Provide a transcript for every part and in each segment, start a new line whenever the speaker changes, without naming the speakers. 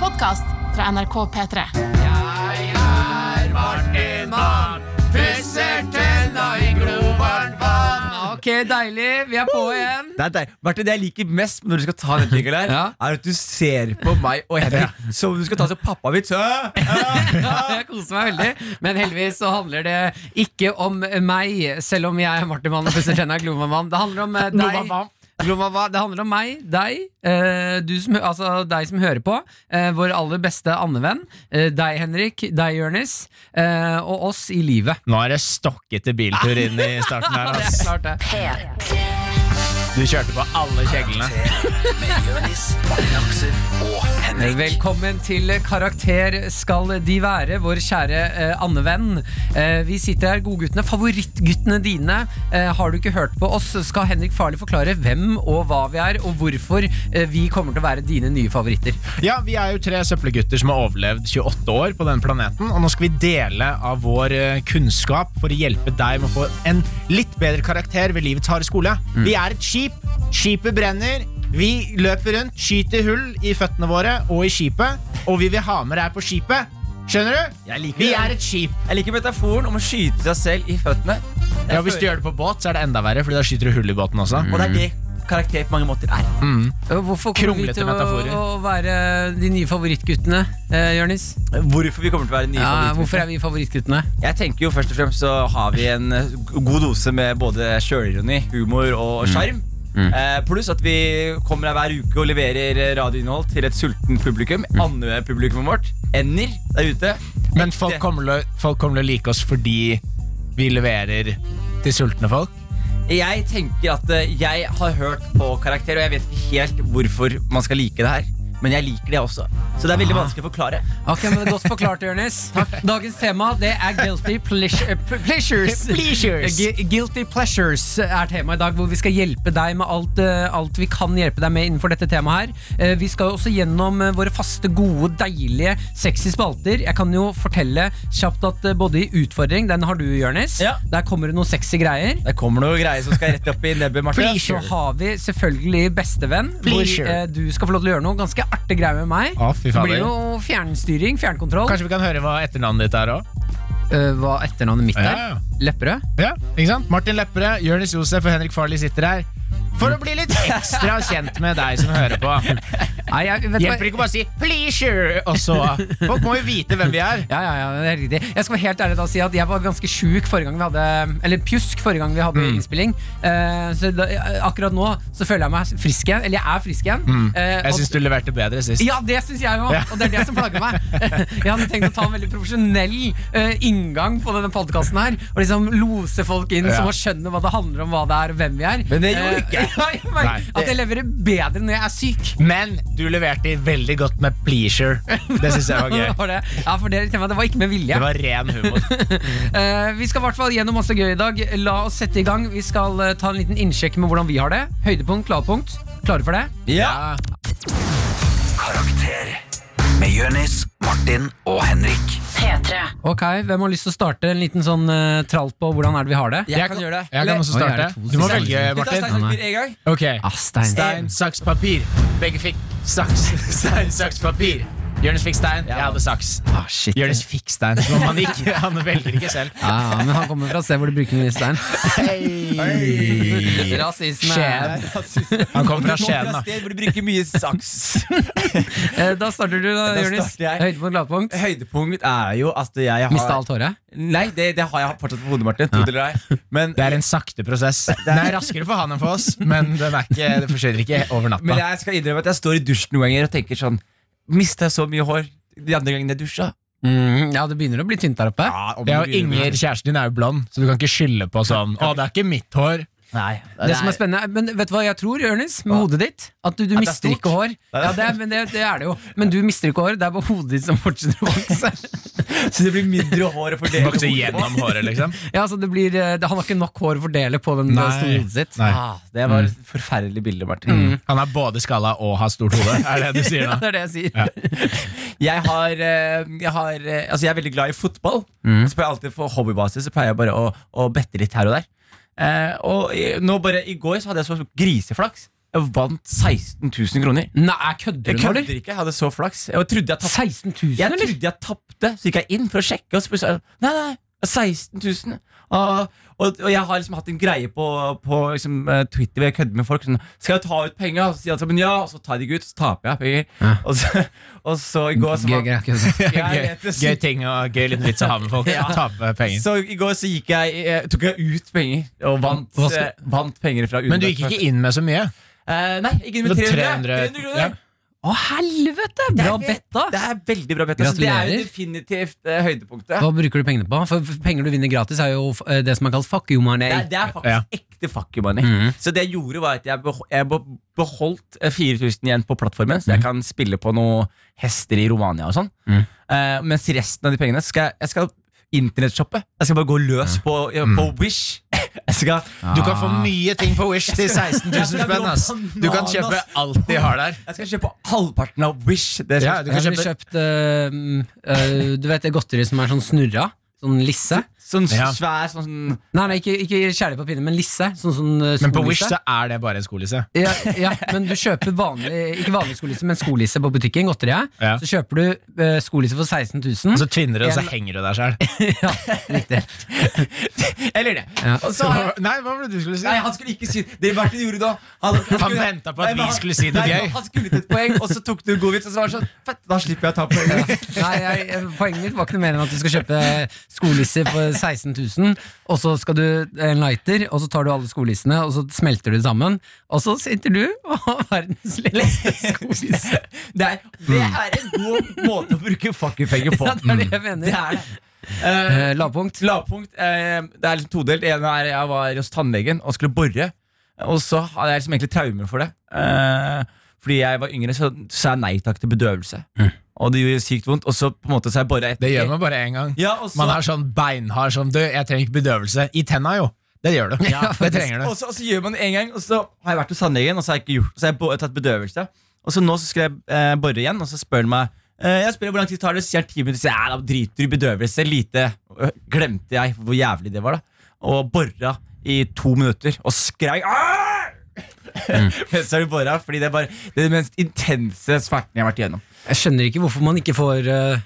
podkast fra NRK P3.
Jeg er Martin Mann, pusser tenna i grovvarmt vann. Ok, deilig. Vi er på igjen.
Det er deg. Martin, det jeg liker mest når du skal ta den jingelen her,
Ja.
er at du ser på meg og Henrik som om du skal ta som pappavits. Hæ? Hæ?
Ja, jeg koser meg veldig. Men heldigvis så handler det ikke om meg, selv om jeg er Martin Mann og pusser tenna i glovvarmt vann. Det handler om eh, deg.
Glomamam.
Glomamam. Det handler om meg, deg, eh, du som, hø- altså deg som hører på, eh, vår aller beste andevenn, eh, deg Henrik, deg Jonis, eh, og oss i livet.
Nå er det stokkete biltur inn i starten her.
Det er
ass.
klart det.
Du kjørte på alle kjeglene.
Velkommen til Karakter skal de være, vår kjære eh, andevenn. Eh, vi sitter her, godguttene, favorittguttene dine. Eh, har du ikke hørt på oss, så skal Henrik Farley forklare hvem og hva vi er, og hvorfor eh, vi kommer til å være dine nye favoritter.
Ja, Vi er jo tre søppelgutter som har overlevd 28 år på denne planeten. Og nå skal vi dele av vår eh, kunnskap for å hjelpe deg med å få en litt bedre karakter ved livets harde skole. Vi er et skip. Skipet brenner. Vi løper rundt, skyter hull i føttene våre og i skipet. Og vi vil ha med deg på skipet. Skjønner du?
Jeg liker
Vi
det.
er et skip.
Jeg liker metaforen om å skyte seg selv i føttene.
Ja, Hvis du gjør Mm. det på båt, så er det enda verre, Fordi da skyter du hull i båten også.
Og det er det karakter på mange måter er.
Eh, Hvorfor kommer vi
Kronglete
til å,
metaforer.
å være de nye favorittguttene, eh, Jonis?
Hvorfor vi kommer til å være nye
Ja,
favoritter.
hvorfor er vi favorittguttene?
Jeg tenker jo først og fremst så har vi en eh, god dose med både sjølironi, humor og sjarm. Eh, pluss at vi kommer her hver uke og leverer eh, radioinnhold til et sulten publikum. Andre publikummet vårt. Ender der ute.
Men folk kommer, til å, folk kommer til å like oss fordi vi leverer til sultne folk.
Jeg tenker at eh, jeg har hørt på karakter, og jeg vet ikke helt hvorfor man skal like det her. Men jeg liker det også. Så det er veldig vanskelig å forklare.
Ok, men det er Godt forklart, Jonis. Dagens tema det er guilty pleasure, pleasures.
Pleasures.
Gu- Guilty pleasures er temaet i dag, hvor vi skal hjelpe deg med alt, eh, alt vi kan hjelpe deg med innenfor dette temaet her. Eh, Vi skal jo også gjennom eh, våre faste, gode, deilige, sexy spalter. Jeg kan jo fortelle kjapt at eh, både i Utfordring, den har du, Jonis.
Ja.
Der kommer det noen sexy greier.
Det kommer noe greier som skal rett opp i nebbet. Martin.
Så har vi selvfølgelig Bestevenn,
Pleasure.
hvor eh, du skal få lov til å gjøre noe ganske artig greier med meg.
Å, fy
det
fader.
blir jo fjernstyring, fjernkontroll.
Kanskje vi kan høre hva etternavnet ditt er òg?
Eh, hva etternavnet mitt er?
Ja, ja.
Lepperød?
Ja, ikke sant? Martin Lepperød, Jonis Josef og Henrik Farley sitter her. For å bli litt ekstra kjent med deg som hører på.
Nei, jeg vet
Hjelper
hva-
ikke å bare si 'pleasure', og så Folk må jo vite hvem vi er.
Ja, ja, ja, det er riktig. Jeg skal være helt ærlig da og si at jeg var ganske sjuk forrige gang vi hadde Eller pjusk forrige gang vi hadde
Mm.
innspilling. Eh, så da, akkurat nå så føler jeg meg frisk igjen. Eller jeg er frisk igjen. Eh,
Mm. Jeg
og-
syns du leverte bedre sist.
Ja, det syns jeg òg,
Ja.
og det er det som plager meg. Jeg hadde tenkt å ta en veldig profesjonell eh, inngang på denne podkasten her. Og liksom lose folk inn
Ja.
som må skjønne hva det handler om, hva det er, og hvem vi er.
Men det gjorde
Eh,
ikke jeg.
ja, jeg merker
Nei.
At jeg leverer bedre når jeg er syk.
Men du leverte veldig godt med 'pleasure'. Det syns jeg var gøy.
For det, ja, for det, det var ikke med vilje.
Det var ren humor.
Eh, vi skal i hvert fall gjennom masse gøy i dag. La oss sette i gang. Vi skal eh, ta en liten innsjekk med hvordan vi har det. Høydepunkt, lavpunkt. Klare for det?
Ja.
Karakter med Jonis, Martin og Henrik.
P3.
Ok, Hvem har lyst til å starte en liten sånn eh, tralt på hvordan er det vi har det?
Jeg, kan, gjøre det.
Jeg kan også
Oi, er det
starte.
to
Du må
som-
velge,
Vi tar
Martin.
Stein Sofie en gang.
Ok
Ah, Stein.
Stein, saks, papir. Begge fikk saks. Stein, saks, papir. Jonis fikk stein, jeg hadde saks.
Ah, shit.
Jonis fikk stein. Som om han ikke Han velger ikke selv.
Ja, men han kommer fra et sted hvor de bruker mye stein.
Hei.
Rasisme.
Skien.
Rasisme.
Han kom fra
Du må
Skien, da.
sted hvor du bruker mye saks.
Eh, Da starter du, da,
Da
Jonis.
starter jeg.
Høydepunkt, lavpunkt.
Høydepunkt er jo at jeg har
Mista alt håret?
Nei, det, det har jeg fortsatt på hodet, Martin. Tro det eller ei. Men,
Det er en sakte prosess. Den er raskere for han enn for oss, men den er ikke, det forsvinner ikke over
men
natta.
jeg skal innrømme at jeg står i dusjen noen ganger og tenker sånn Mista jeg så mye hår de andre gangene jeg dusja?
Mm, ja, det begynner å bli tynt der oppe.
Det er jo Inger, kjæresten din, er jo blond, så du kan ikke skylde på sånn Å, det er ikke mitt hår.
Nei,
Det som er spennende, men Vet du hva jeg tror, Jonis? Med hodet ditt? At du, du
At det er
mister
stort.
ikke hår.
Nei,
Ja, det, er- men det, det er det jo. Men du mister ikke hår. Det er bare hodet ditt som fortsetter å vokse.
Så det blir mindre hår å
Du
fordele
vokser
hodet på.
gjennom håret, liksom.
Ja, altså det blir, eh, det, Han har ikke nok hår å fordele på den eh,
Nei.
store hodet sitt.
Nei.
Ah, det var et forferdelig bilde, Martin.
Han er både skalla og har stort hode, er det du sier
Ja,
nå?
det er det jeg sier.
Ja.
Jeg, har, eh, jeg, har, eh, altså jeg er veldig glad i fotball.
Mm.
Så pleier jeg alltid På hobbybasis så pleier jeg bare å, å bette litt her og der. Eh, og i, nå bare I går så hadde jeg så griseflaks. Jeg Jeg vant 16 000 kroner.
Nei, jeg kødder
Jeg
du nå, eller?
kødder ikke. Jeg hadde så flaks. Jeg trodde jeg tapte.
16 000,
Jeg
eller?
trodde jeg tapte, så gikk jeg inn for å sjekke. Og så plutselig sånn, Nei, nei, 16 000. Og, og, og jeg har liksom hatt en greie på, på liksom, eh, Twitter hvor jeg kødder med folk. Sånn, skal jeg ta ut penger? Og så sier de sånn, ja, og så tar jeg de ut, så taper jeg penger. Og, så, og så i går så
Gøy,
var-
gøy, gøy.
Jeg
Gøy,
vet det,
gøy ting og gøy liten vits å ha med folk.
Ja.
Tape penger.
Så i går så gikk jeg, eh, tok jeg ut penger og vant,
Hva skal-
eh, vant penger fra
Men du gikk ikke inn med så mye?
Eh, nei, jeg gikk inn med
Det var
300.
300.
300 kroner.
Ja.
Å, helvete!
Det
Bra
er helt-
bett, da!
Det er veldig bra bett. Altså, det er jo
Gratulerer.
definitivt eh, høydepunktet.
Hva bruker du pengene på? For for penger du vinner gratis, er jo eh, det som er kalt fuck you money.
Det er, det er
Ja.
faktisk ekte fuck you money.
Mhm.
Så det jeg gjorde, var at jeg, beho- jeg be- beholdt eh, 4000 igjen på plattformen, så jeg
Mhm.
kan spille på noen hester i Romania og sånn.
Mhm.
Eh, mens resten av de pengene skal jeg, jeg skal internettshoppe. Jeg skal bare gå løs på, ja, på
Mhm.
Wish. Jeg skal,
Du kan
Ah.
få mye ting på Wish til 16 000 spenn. Ass. Du kan kjøpe alt de har der.
jeg skal kjøpe halvparten av Wish. Det
Ja,
er sånn-
du
Jeg
kan
ville
kjøpe
kjøpt eh, eh, Du vet det godteri som er sånn snurra? Sånn lisse?
sånn
Ja.
svær sånn
Nei, nei ikke, ikke kjærlighet på pinne, men lisse. Sånn, sånn, eh,
Men på
skolisse.
Wish så er det bare en skolisse.
ja, ja, men du kjøper vanlig Ikke vanlig skolisse, men skolisse på butikken. Godteriet.
Ja. Altså-
Så kjøper du eh, skolisse for 16 000.
Og så tvinner du, og så henger du deg sjæl.
ja, riktig.
Eller det.
Ja.
Og så har jeg
Nei, hva var det du skulle
Nei, han skulle ikke si Det Martin gjorde da Han, han,
ventet på at
Nei, men
vi
han-
skulle si noe
nei,
gøy.
Han skulle til et poeng, og så tok du en god vits, og så var det sånn Fett, da slipper jeg å ta poeng.
Nei, jeg, jeg- poenget mitt var ikke noe mer enn at du skal kjøpe skolisse for 16 000, og så skal du en lighter, og så tar du alle skolissene, og så smelter du det sammen, og så sitter du og har verdens lengste skolisse.
Det er, det er en god måte å bruke fuck you-penger på.
Ja, det er det jeg
Det
mener.
er det. Eh,
Eh, lavpunkt.
Lavpunkt. Eh, det er liksom todelt. Det ene er jeg var hos tannlegen og skulle bore. Og så hadde jeg liksom egentlig traumer for det. Eh, fordi jeg var yngre, så så sa jeg nei takk til bedøvelse. Og det gjorde sykt vondt. Og så på en måte så har jeg bora etter
Det gjør man bare én gang.
Ja, og så,
Man er sånn beinhard som du. Jeg trenger ikke bedøvelse. I tenna, jo. Det gjør du. det trenger du.
Og så, og så gjør man det en gang, og så har jeg vært hos tannlegen, og så har jeg ikke gjort Så har jeg bo- tatt bedøvelse. Og så nå så skal jeg eh, bore igjen, og så spør han meg eh, Jeg spør hvor lang tid tar det, så sier han ti minutter. Så sier jeg, ja, da driter du i bedøvelse. Lite Øh, glemte jeg hvor jævlig det var, da. Og bora i to minutter, og skreik «Aah!»
Mm.
Mens jeg bora, fordi det er bare Det er den mest intense smerten jeg har vært igjennom.
Jeg skjønner ikke hvorfor man ikke får eh,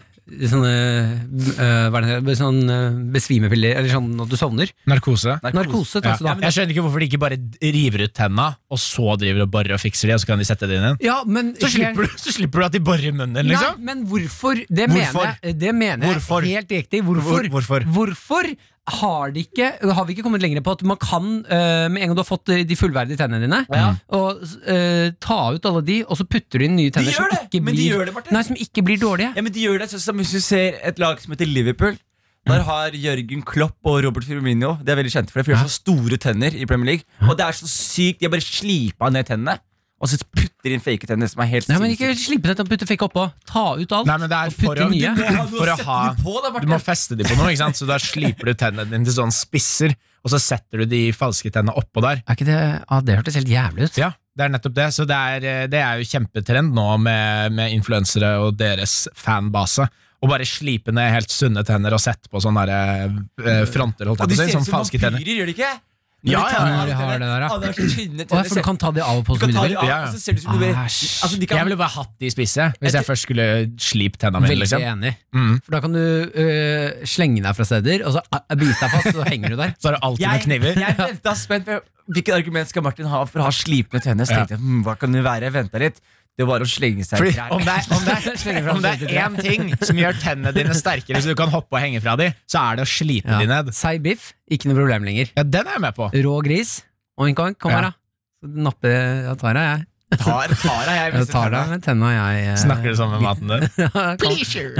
sånne, eh, hva er det, heter, sånn eh, besvimepiller, eller sånn at du sovner.
Narkose.
Narkose,
Ja.
tar du da.
Jeg skjønner ikke hvorfor de ikke bare river ut tenna, og så driver og borer og fikser de, og så kan de sette det inn igjen.
Ja, men
Så slipper, du, så slipper du at de borer i munnen, liksom.
Nei, men hvorfor? Det
Hvorfor?
mener jeg, det mener jeg
Hvorfor?
helt riktig. Hvorfor?
Hvor- hvorfor?
Hvorfor har, de ikke, har vi ikke kommet lenger på at man kan, eh, med en gang du har fått eh, de fullverdige tennene dine, og, eh, ta ut alle de, og så putter du inn nye tenner
gjør
som,
det,
ikke
men de gjør
blir,
det, Martin.
nei, som ikke blir dårlige?
Ja, men de gjør det sånn som Hvis du ser et lag som heter Liverpool Der har Jørgen Klopp og Robert Firmino De er veldig kjente for det For de har så store tenner i Premier League Og det er så sykt De har bare slipa ned tennene Og så putter de inn fake tenner Som er helt
Nei, men ikke
sinnssykt.
slippe ned og putte fikk oppå. Ta ut alt
Nei, men det er
og putte
for å-
nye.
Du må ha noe
For å
å sette
ha-
de på da,
Du
Martin
må feste de på noe, ikke sant? så da sliper du tennene dine til sånne spisser, og så setter du de falske tennene oppå der.
Er ikke det, ah, det hørtes helt jævlig ut.
Ja, det er nettopp det. Så det er, eh, det er jo kjempetrend nå med, med influensere og deres fanbase. Å bare slipe ned helt sunne tenner og sette på sånne der, eh, fronter, holdt
Og
jeg
de
på å si.
ser
Sånne
ut som
falske tenner.
vampyrer, gjør de ikke?
Ja,
de
ja,
tar
ja,
av
de har det der, ja.
Å, det er så
Å, sånn
tynne
ja, for du
tenner
kan ta de av og på så
Du kan
mye
ta
du
de
vil.
Ja,
av
ja.
og Så ser det ut som du blir
Æsj.
Altså de
Jeg
kan
ville bare hatt de spisse hvis jeg først skulle slipe tennene mine.
Veldig
Liksom.
enig.
Mm.
For da kan du øh, slenge deg fra steder, og så øh, bite deg fast, så henger du der.
Så er det alltid med
jeg,
kniver.
jeg venta spent på hvilket argument skal Martin ha for å ha slipne tenner. Så
Ja.
tenkte jeg, hm, hva kan det være? Jeg ventet litt. Det var å slenge seg
Fordi,
trær.
om, det er, om, det er,
Slenger fra
om det er én ting som gjør tennene dine sterkere, så du kan hoppe og henge fra de, så er det å slipe de
Ja.
ned.
Seig biff, ikke noe problem lenger.
Ja, Den er jeg med på.
Rå gris, oink oink, kom
Ja.
her, da. Så Nappe Jeg tar deg, jeg.
Tar, tar jeg,
Jeg
viser
tar deg
tennene.
med tenna, jeg. eh,
Snakker du sammen med maten din?
kan,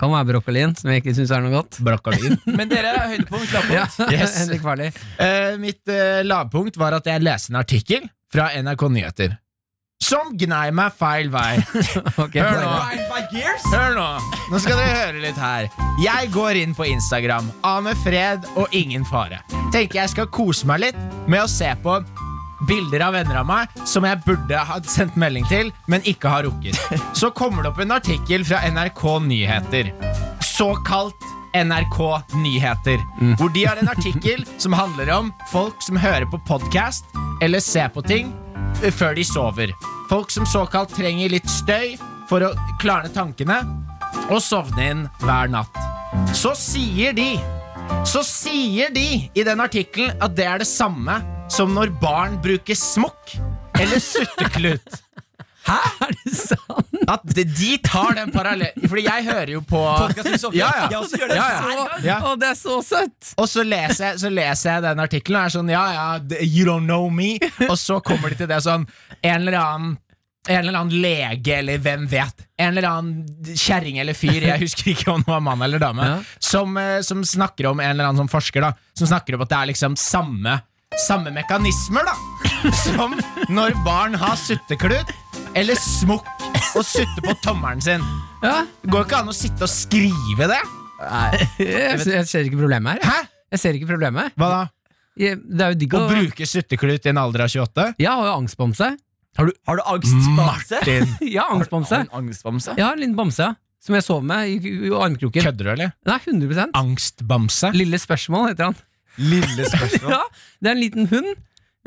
kan være brokkolien, som jeg ikke syns er noe godt.
Brokkolin.
Men dere, høydepunkt,
Ja,
lavpunkt.
Yes.
Henrik Farley.
Eh, mitt eh, lavpunkt var at jeg leste en artikkel fra NRK Nyheter som gnei meg feil vei.
Ok,
Hør
poeng.
nå.
Grind by gears.
Hør nå! Nå skal dere høre litt her. Jeg går inn på Instagram. Ane fred og ingen fare. Tenker jeg skal kose meg litt med å se på bilder av venner av meg som jeg burde ha sendt melding til, men ikke har rukket. Så kommer det opp en artikkel fra NRK Nyheter. Såkalt NRK Nyheter. Hvor de har en artikkel som handler om folk som hører på podkast eller ser på ting eh, før de sover. Folk som såkalt trenger litt støy for å klarne tankene og sovne inn hver natt. Så sier de Så sier de i den artikkelen at det er det samme som når barn bruker smokk eller sutteklut.
Er det sånn sant?
At de- de tar den parallellen Fordi jeg hører jo på Ja, ja.
Jeg også gjør det
Ja, ja.
hver gang.
Ja.
Å, det er så søtt!
Og så leser, jeg, så leser jeg den artikkelen og er sånn Ja, ja, d- you don't know me. Og så kommer de til det sånn En eller annen en eller annen lege, eller hvem vet. En eller annen kjerring eller fyr, jeg husker ikke om det var mann eller dame,
Ja.
som, eh, som snakker om en eller annen sånn forsker da Som snakker om at det er liksom samme Samme mekanismer, da, som når barn har sutteklut eller smokk og sutter på tommelen sin.
Ja,
Det går ikke an å sitte og skrive det.
jeg, jeg ser ikke problemet her.
Hæ?
Jeg ser ikke problemet.
Hva da?
Jeg, det er jo digg
Å
å
bruke sutteklut i en alder av 28?
Jeg har jo angstbamse.
Har du angstbamse?
Martin,
Jeg har angstbamse.
Har du en angstbamse?
Jeg har en liten bamse ja, som jeg sover med i, i armkroken.
kødder du, eller?
Nei, 100
Angstbamse?
Lille Spørsmål heter han.
Lille spørsmål.
Ja, Det er en liten hund.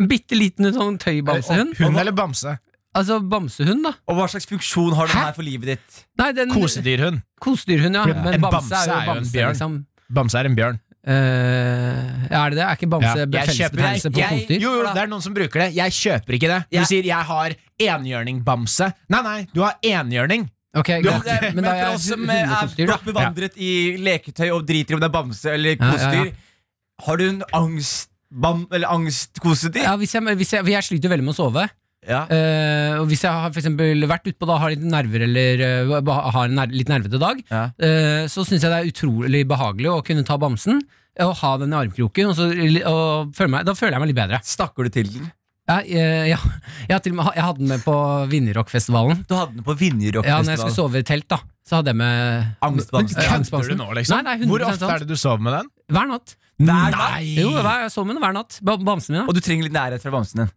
En bitte liten sånn tøybamsehund.
Hun eller bamse?
Altså bamsehund, da.
Og hva slags funksjon har den
Hæ?
her for livet ditt?
Nei, den
Kosedyrhund.
Kosedyrhund, ja.
For
Men
en
bamse er jo
en
bamse,
bjørn.
liksom.
Bamse er en bjørn.
Eh, er det det? Er ikke bamse
Ja. Jeg kjøper-
fellesbetegnelse på
jeg-
kosedyr?
Jo, jo, det er noen som bruker det. Jeg kjøper ikke det. Du
Jeg-
sier 'jeg har enhjørningbamse'. Nei, nei, du har enhjørning.
Ok,
Jo,
greit.
det er, men
Men da
for
er
oss
jeg
som eh, er
hundekosedyr,
godt
da.
bevandret i leketøy og driter i om det er bamse eller
Ja, ja, ja.
kosedyr, har du en angst... Bam, eller angstkosedyr?
Ja, hvis jeg, hvis jeg, for jeg sliter jo veldig med å sove.
Ja.
Eh, og hvis jeg har for eksempel vært utpå da har litt nerver eller eh, ba- har en ner litt nervete dag,
Ja.
eh, så syns jeg det er utrolig behagelig å kunne ta bamsen eh, og ha den i armkroken. Og så, og føle meg, da føler jeg meg litt bedre.
Snakker du til den?
Ja, eh, ja. Jeg, har til og med, jeg hadde den med på Vinjerockfestivalen.
Du hadde den på Vinjerock
Ja, når jeg skulle
Festival.
sove i telt, da, så hadde jeg med
Angstbamse.
eh,
Kødder du
angstbamsen.
nå, liksom?
Nei, nei,
Hvor
100%
ofte
sant.
er det du sover med den?
Hver natt. Mm.
Hver natt?
Nei!
Jo, hver, jeg sover med den hver natt. Ba- Bamsen min, da.
Og du trenger litt nærhet fra bamsen din.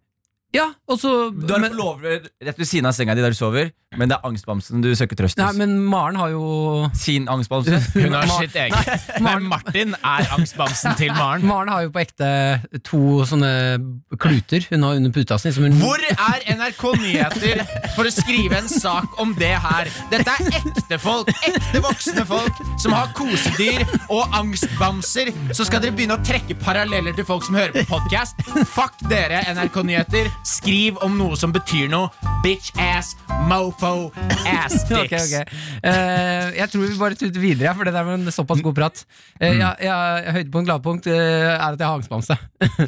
Ja, og så
Du har
men-
en forlover rett ved siden av senga di der du sover, men det er angstbamsen du søker trøst
Nei,
hos.
men Maren har jo
Sin angstbamse.
Hun har sitt eget. Nei,
Maren-
Martin er angstbamsen til Maren.
Maren har jo på ekte to sånne kluter hun har under puta si. Som hun
Hvor er NRK Nyheter for å skrive en sak om det her? Dette er ekte folk, ekte voksne folk som har kosedyr og angstbamser. Så skal dere begynne å trekke paralleller til folk som hører på podkast. Fuck dere, NRK Nyheter. Skriv om noe som betyr noe. Bitch ass, mofo ass dicks.
Ok, ok. Eh, jeg tror vi bare tuter videre, ja, for det der var en såpass god prat.
Mm.
Eh, ja, ja, høydepunkt, lavpunkt eh, er at jeg har angstbamse.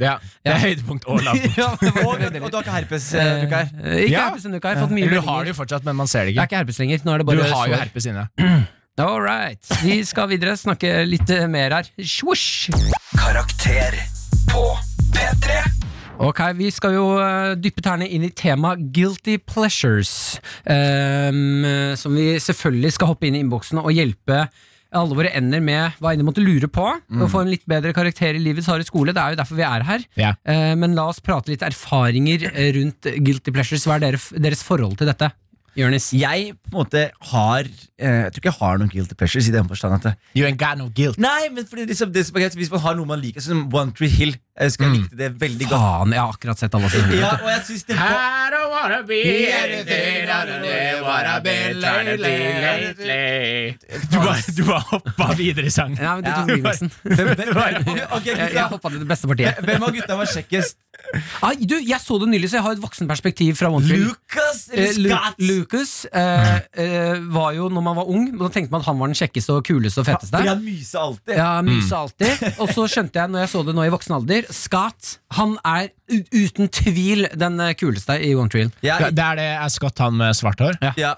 Ja, det er høydepunkt og lavpunkt.
ja, det
Og,
var
og du
veldig deilig.
har ikke herpes, eh, du, Kar?
Eh, ikke
Ja.
herpes ennå, jeg har fått mye
Eller du har
meldinger.
det jo fortsatt, men man ser
Jeg
det
er
ikke.
ikke herpes lenger. Nå er det
Du
bare
har jo
sår.
herpes inne.
All right. Vi skal videre snakke litt eh, mer her. Swoosh!
Karakter på P3.
Ok, vi skal jo eh, dyppe tærne inn i temaet guilty pleasures. ehm, som vi selvfølgelig skal hoppe inn i innboksen og hjelpe alle våre ender med hva enn de måtte lure på. Og få en litt bedre karakter i livets harde skole. Det er jo derfor vi er her.
Ja.
Eh, men la oss prate litt erfaringer eh, rundt guilty pleasures. Hva er dere, deres forhold til dette? Jonis?
Jeg på en måte har eh, Jeg tror ikke jeg har noen guilty pleasures. i den forstand at det-
You ain't got no guilt.
Nei, men fordi liksom, det, som er greit, Hvis man har noe man liker, som One Tree Hill eh, Jeg husker
Mm.
jeg likte det veldig godt.
Faen, jeg har akkurat sett alle sammen.
Ja, og jeg synes det var
I don't wanna be anything other than what I've been lately, lately. Du bare, du bare hoppa videre i sangen.
Nei, men du tok Jonassen.
Hvem, hvem, ok,
Jeg,
gutta.
jeg hoppa til det beste partiet.
hvem av gutta var kjekkest?
Ai, du, jeg så det nylig, så jeg har et voksenperspektiv fra One Tree.
Lucas
Eh,
eller
Lu
Scott?
Lucas eh, eh, var jo, når man var ung, da tenkte man at han var den kjekkeste og kuleste og feteste.
For han Mm. myser alltid.
Ja, mysa alltid. Og så skjønte jeg, når jeg så det nå i voksen alder, Scott han er u- uten tvil den eh, kuleste i One Tree Hill.
Jeg-
Det er det er Scott han med svart hår?
Ja,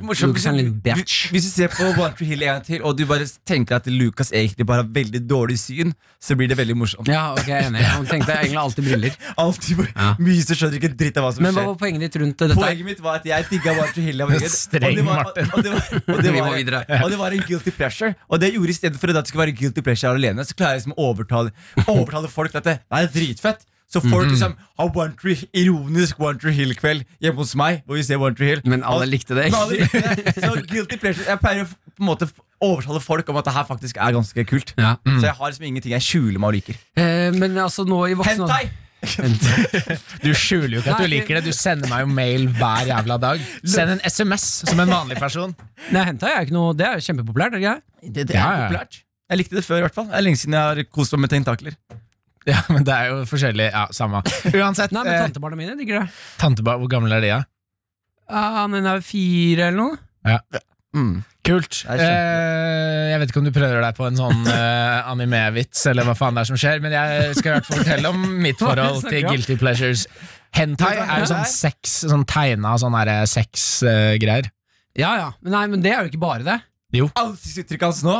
morsomt.
Lucas er en liten bitch.
Hvis du ser på One Tree Hill en gang til, og du bare tenker at Lucas egentlig bare har veldig dårlig syn, så blir det veldig morsomt.
Ja, ok, jeg er enig. Han tenkte egentlig alltid briller.
Alltid bare myser, skjønner ikke dritt av hva som
Men hva
skjer.
var poenget ditt rundt eh, dette?
Poenget mitt var at jeg digga One Tree Hill. da jeg var yngre.
Streng,
og, det var,
Martin.
og, det var, og, det
Vi må
var,
videre.
og det var en guilty pleasure. Og det jeg gjorde istedenfor at det skulle være guilty pleasure alene, så klarer jeg liksom å overtale, overtale folk til at det nei, det er dritfett. Så folk
Mhm.
liksom har One Tree, ironisk One Tree Hill-kveld hjemme hos meg. Hvor vi ser One Tree Hill
Men alle
Og-
likte det ikke.
Men alle likte det. Så guilty pleasure Jeg pleier å f- på en måte f- overtale folk om at det her faktisk er ganske kult.
Ja. Mm.
Så jeg har liksom ingenting jeg skjuler meg og liker.
Eh, men altså nå i voksen alder
Hentai!
Du skjuler jo ikke at du
Nei,
liker det. Du sender meg jo mail hver jævla dag. Send en SMS som en vanlig person.
Nei, hentai er ikke noe Det er kjempepopulært. er det ikke?
Det, det er
Ja, ja.
populært. Jeg likte det før, i hvert fall. Det er lenge siden jeg har kost meg med tentakler.
Ja, men det er jo forskjellig. Ja, samme. Uansett,
Nei, men
eh,
Tantebarna mine digger det.
tanteba, hvor gammel er de? Ja?
Ah, Han er fire eller noe.
Kult.
er kjempe-
Eh, jeg vet ikke om du prøver deg på en sånn eh, anime-vits, eller hva faen det er som skjer, men jeg skal i hvert fall fortelle om mitt
Hva er det du
forhold
snakker
til
om?
Guilty Pleasures. Hentai er jo sånn sex, sånn tegna sånn derre sex-greier.
Ja, ja. Men Nei, men det er jo ikke bare det.
Ansiktsuttrykket hans nå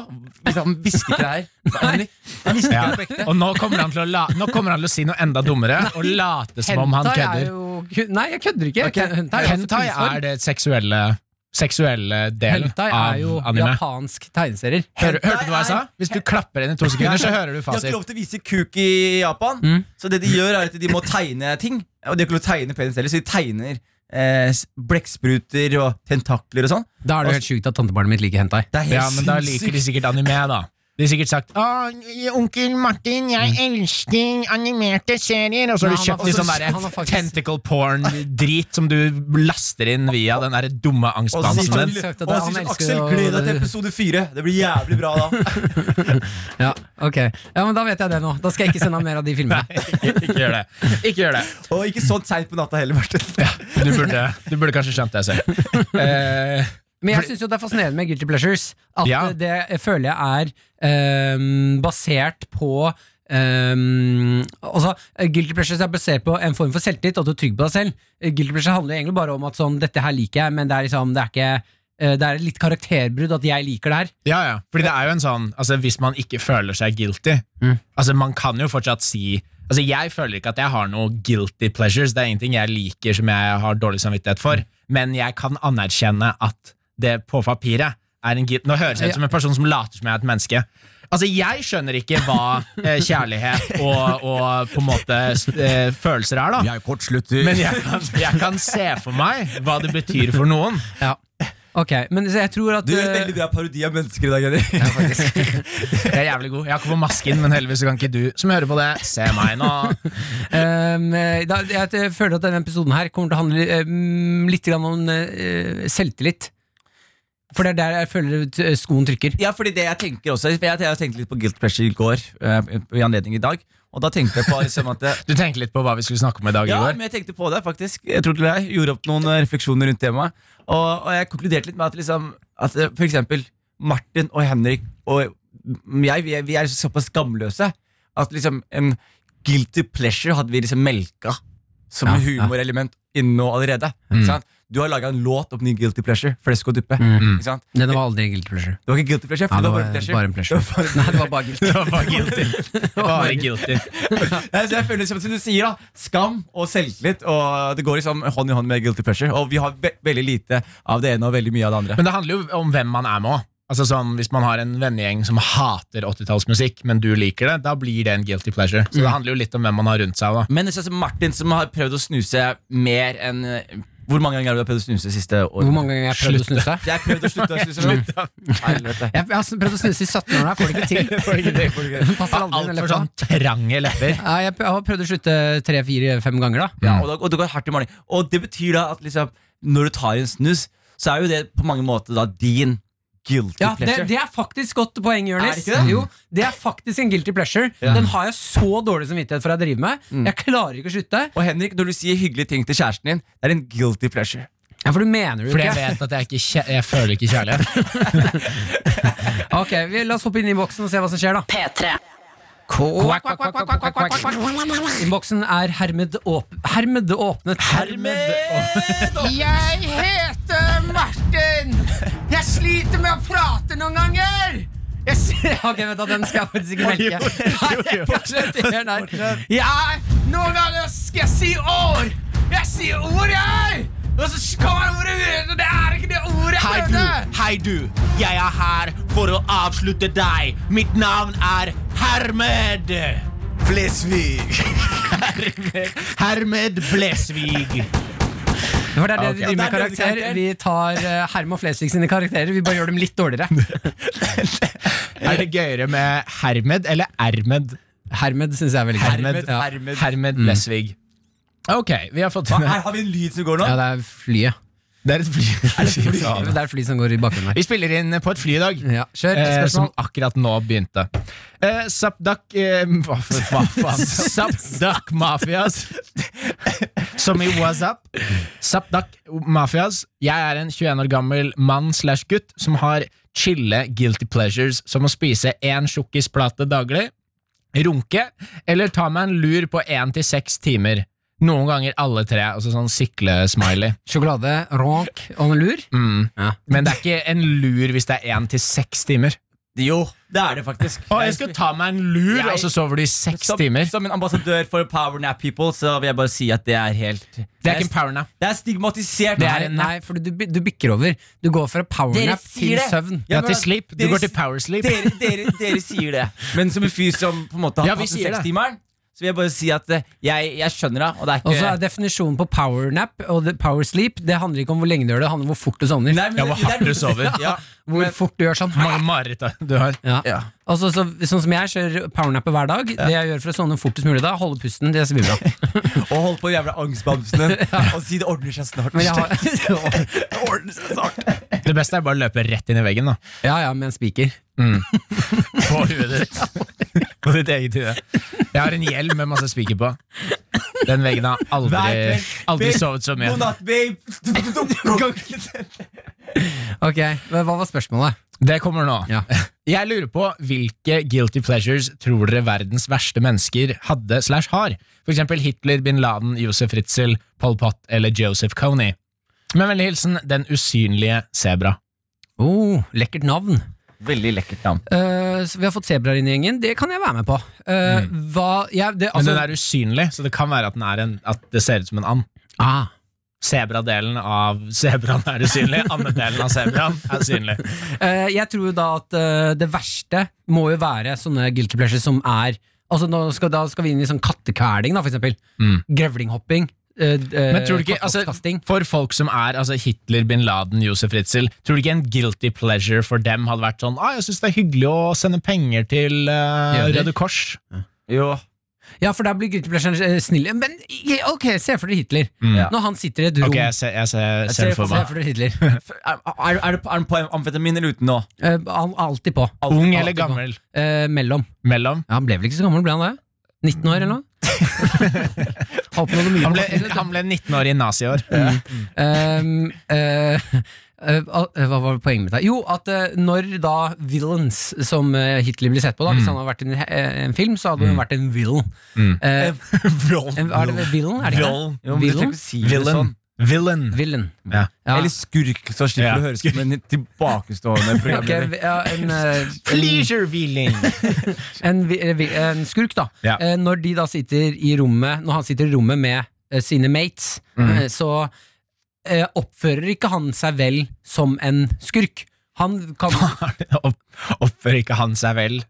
hvis Han visste ikke det her. Henrik. Han visste
Ja.
ikke det på ekte.
Og nå kommer, han til å la, nå kommer han til å si noe enda dummere og late som om han
Hentai er
kødder.
jo ku- Nei, jeg kødder ikke.
Ok.
Hentai,
Hentai er
altså
det seksuelle, seksuelle
kunstform.
delen
Hentai er jo
av anime.
japansk tegneserier.
Hør,
Hentai
hørte du hva jeg sa?
er-
Hvis du klapper inn i to sekunder, så hører du
De har ikke lov
fasit.
til å vise kuk i Japan,
Mm.
så det de gjør, er at de må tegne ting. Og de har ikke lov til å tegne penis heller, så de tegner eh, s- blekkspruter og tentakler og sånn.
Da er det jo helt sjukt at tantebarnet mitt liker hentai.
Det er helt
Ja, men da liker
sinnssykt.
de sikkert anime, da. De har sikkert sagt 'Å, onkel Martin, jeg elsker animerte serier', og så
Men Mm. han har
har du kjøpt litt
faktisk-
sånn
han har
derre
faktisk-
tentacle porn-drit som du laster inn via den derre dumme
Og så sier
angstdansen din.
Aksel,
Søkt at
og så
han
sier
elsker
Aksel
å-
gled deg til episode fire. Det blir jævlig bra da.
Ja, ok Ja, men Da vet jeg det nå. Da skal jeg ikke sende mer av de filmene.
Ikke gjør det. Ikke gjør det.
Og ikke sånn seint på natta heller, Martin.
Du burde, du burde kanskje skjønt det selv. Eh,
Men jeg syns jo det er fascinerende med Guilty Pleasures. At
Ja.
eh, det jeg føler jeg er ehm, basert på ehm, altså, eh, Guilty Pleasures er basert på en form for selvtillit, at du er trygg på deg selv. Eh, Guilty Pleasure handler jo egentlig bare om at sånn, dette her liker jeg, men det er liksom, det er ikke eh, det er et litt karakterbrudd at jeg liker det her.
Ja, ja. Fordi det er jo en sånn altså, Hvis man ikke føler seg guilty
Mm.
Altså Man kan jo fortsatt si Altså Jeg føler ikke at jeg har noe guilty pleasures. Det er ingenting jeg liker som jeg har dårlig samvittighet for. Men jeg kan anerkjenne at det på papiret er en guilt Nå høres jeg ut som en person som later som jeg er et menneske. Altså Jeg skjønner ikke hva eh, kjærlighet og, og på en måte eh, følelser er, da.
Jeg kortslutter.
Men jeg kan, jeg kan se for meg hva det betyr for noen.
Ok, men så jeg tror at
Du gjør en
eh,
veldig bra parodi av mennesker i dag, Henrik.
Jeg er jævlig god. Jeg har ikke på masken, men heldigvis så kan ikke du som hører på det, se meg nå.
Um, eh, da, jeg t- føler at denne episoden her kommer til å handle eh, mm, litt grann om eh, selvtillit. For det er der jeg føler t- skoen trykker.
Ja, fordi det jeg tenker også for Jeg, jeg tenkte litt på guilt pressure i går, eh, i anledning i dag. Og da tenkte jeg på liksom at det,
Du tenkte litt på hva vi skulle snakke om i dag i
Ja,
går.
men jeg tenkte på det, faktisk. Jeg tror til jeg gjorde opp noen eh, refleksjoner rundt temaet. Og, og jeg konkluderte litt med at, liksom, at eh, for eksempel Martin og Henrik og jeg, vi er, vi er såpass skamløse at liksom en guilty pleasure hadde vi liksom melka som
Ja,
humorelement inne nå allerede. Ikke sant? Du har laga en låt om ny guilty pleasure, Flesk og duppe. Ikke sant?
Den var aldri guilty pleasure.
Det var ikke guilty pleasure, for Mm. det var bare en pleasure.
en pleasure. Nei, det var bare guilty.
Det var bare guilty. Bare guilty.
Nei, så jeg føler liksom, som du sier da Skam og selvtillit Og det går liksom hånd i hånd med guilty pleasure Og vi har ve veldig lite av det ene og veldig mye av det andre
Men det handler jo om hvem man er med òg. Altså sånn, hvis man har en vennegjeng som hater 80-tallsmusikk, men du liker det, da blir det en guilty pleasure. Så
Mm.
det handler jo litt om hvem man har rundt seg. da
Men det er sånn som Martin som har prøvd å snuse mer enn eh, Hvor mange ganger har du prøvd å snuse siste året?
Hvor mange ganger har jeg prøvd å snuse?
Jeg har prøvd å slutte å snuse nå. Helvete.
Jeg, jeg har prøvd å snuse i 17 år, jeg får det ikke til. Den Passer aldri under
Altfor
leppa.
sånn trange lepper.
Ja, jeg har prøvd å slutte tre-fire-fem ganger, da.
Ja, og, da, og det går hardt i morgen Og det betyr da at liksom Når du tar en snus Så er jo det på mange måter da din guilty
Ja, det,
pleasure
det er faktisk godt poeng,
Er det
Jonis.
ikke det?
Jo, det er faktisk en guilty pleasure.
Ja.
Den har jeg så dårlig samvittighet for å drive med. Jeg klarer ikke å slutte.
Og Henrik, når du sier hyggelige ting til kjæresten din Det er en guilty pleasure
Ja, for du mener det jo
Fordi jeg
ikke.
vet at jeg ikke kje- jeg føler ikke kjærlighet.
Ok, vi, La oss hoppe inn i boksen og se hva som skjer, da.
P3.
Quack, quack, quack, quack, quack, quack, quack. Innboksen er hermed, åp hermed åpnet. Jeg heter Martin! Jeg sliter med å prate noen ganger! Jeg ser- Ok, vent da, Den skal jeg faktisk ikke melke. Fortsett i den her. Ja, noen ganger skal jeg si ord. Jeg sier ord, jeg! Og så kommer ordet ut, og det er ikke det ordet jeg
Hei du,
prøvde!
hei du. Jeg er her for å avslutte deg. Mitt navn er Hermed.
Flesvig!
Hermed Blesvig.
For det er det vi driver med
Ja, der ble det
karakter.
karakter.
Vi tar eh, Herm og Flesvig sine karakterer, vi bare gjør dem litt dårligere.
Er det gøyere med Hermed eller Ermed?
Hermed syns jeg er veldig gøy.
Hermed,
ja.
hermed.
Hermed Blesvig.
Mm.
Ok, vi har fått
Hva, her har vi en lyd som går nå.
ja, det er flyet.
Det er et fly.
Det er et fly som går i bakgrunnen her.
Vi spiller inn på et fly i dag.
Ja, kjør.
Eh, som
Spørsmål?
akkurat nå begynte. Eh, Sapdak eh, Hva f- hva faen? Sapdak Mafias. Som i WhatsApp. Sapdak Mafias. Jeg er en 21 år gammel mann slash gutt som har chille guilty pleasures, som å spise én sjokkisplate daglig, runke eller ta meg en lur på én til seks timer. Noen ganger alle tre. Altså sånn sikle-smiley.
Sjokolade, ronk og en lur?
Mm.
Ja.
Men det er ikke en lur hvis det er én til seks timer.
Jo, det er det faktisk.
Å, jeg skal ta meg en lur,
Jeg-
og så sover du i seks
som,
timer.
som en ambassadør for Powernap People så vil jeg bare si at det er helt
Det er ikke en powernap.
det er stigmatisert.
Det er, nei, for du, du bikker over. Du går fra powernap til
sier det.
søvn.
Ja,
Ja,
men-
til sleep. Du
dere-
går til powersleep.
Dere, dere, dere sier det. Men som en fyr som på en måte har
Ja, vi
hatt den
sier det.
sekstimeren, så vil jeg bare si at eh, jeg, jeg skjønner det. Og det er
Og så
ikke
er definisjonen på powernap og det- powersleep Det handler ikke om hvor lenge du gjør det, det handler om hvor fort du sovner.
Nei, men
Ja, hvor
det er
hardt du
noe-
sover.
Ja.
hvor fort du gjør sånn.
Mange mareritt da, du har.
Ja.
Ja.
Og så, så, sånn som jeg kjører powernapper hver dag. Det jeg gjør for å sovne fortest mulig da, holde pusten. Det blir bra.
Og holdt på jævla angstbamsene og si det ordner seg snart.
Men jeg har,
Det ordner seg snart
Det beste er bare å løpe rett inn i veggen da
ja, ja, med en spiker.
på huet ditt. På ditt eget hue. Jeg har en hjelm med masse spiker på. Den veggen har aldri, aldri sovet så mye.
God natt, babe!
Ok, men Hva var spørsmålet?
Det kommer nå.
Ja.
Jeg lurer på hvilke guilty pleasures tror dere verdens verste mennesker hadde slash har? For eksempel Hitler, bin Laden, Josef Ritzel, Pol Pot eller Joseph Kony. Med vennlig hilsen Den usynlige sebra.
Oh, lekkert navn.
Veldig lekkert navn.
Eh, så vi har fått sebraer inn i gjengen. Det kan jeg være med på. Eh, hva, jeg- det,
Mm. Men
altså,
den er usynlig, så det kan være at, den er en, at det ser ut som en and.
ah,
Sebradelen av sebraen er usynlig, andedelen av sebraen er synlig.
Eh, jeg tror jo da at eh, det verste må jo være sånne guilty pleasures som er Altså nå skal, Da skal vi inn i sånn kattekveling, da, for eksempel.
Mm.
Grevlinghopping. eh, eh,
Men tror du ikke, altså,
katteoppkasting.
for folk som er altså Hitler, bin Laden, Josef Ritzel, tror du ikke en guilty pleasure for dem hadde vært sånn ah, 'Jeg syns det er hyggelig å sende penger til eh,
Jøder.»
Røde Kors'?
Jo.
Ja, for der blir guilty pleasures eh, snille. Men i- ok, se for dere Hitler.
Mm.
Når han sitter i et rom
Ok, jeg ser, jeg ser, ser
Jeg
det
ser-
for
Se
meg.
for dere Hitler.
Er, er, er, det- er den på amfetamin eller uten nå?
Eh, han er alltid på.
Ung eller
alltid på.
gammel?
Eh, mellom.
Mellom?
Ja, Han ble vel ikke så gammel, ble han det? 19 år, eller noe? Holdt på med noe mye
Han ble,
forskning, vet du.
han ble 19 år i naziår.
Ehm, eh, eh, al- eh, hva var poenget mitt her? Jo, at eh, når da villains, som eh, Hitler blir sett på da, hvis han hadde vært i en, eh, en film, så hadde hun vært en villain.
Mm.
Eh,
Villain.
en- er det villain? Er det ikke det?
Villain.
Jo, men du
Villain?
trenger ikke si det
Villain.
sånn.
Villain.
Villain.
Ja.
Ja.
Eller skurk, så slipper
Ja.
du å høres ut som en tilbakestående
Ok,
programleder.
vi- ja, en, eh, en,
Pleasure villain.
en, vi- eh, vi- en skurk, da.
Ja.
Eh, Når de da sitter i rommet Når han sitter i rommet med eh, sine mates,
Mm.
eh, så eh, oppfører ikke han seg vel som en skurk. Han, kan,
Opp, oppfører ikke han seg vel?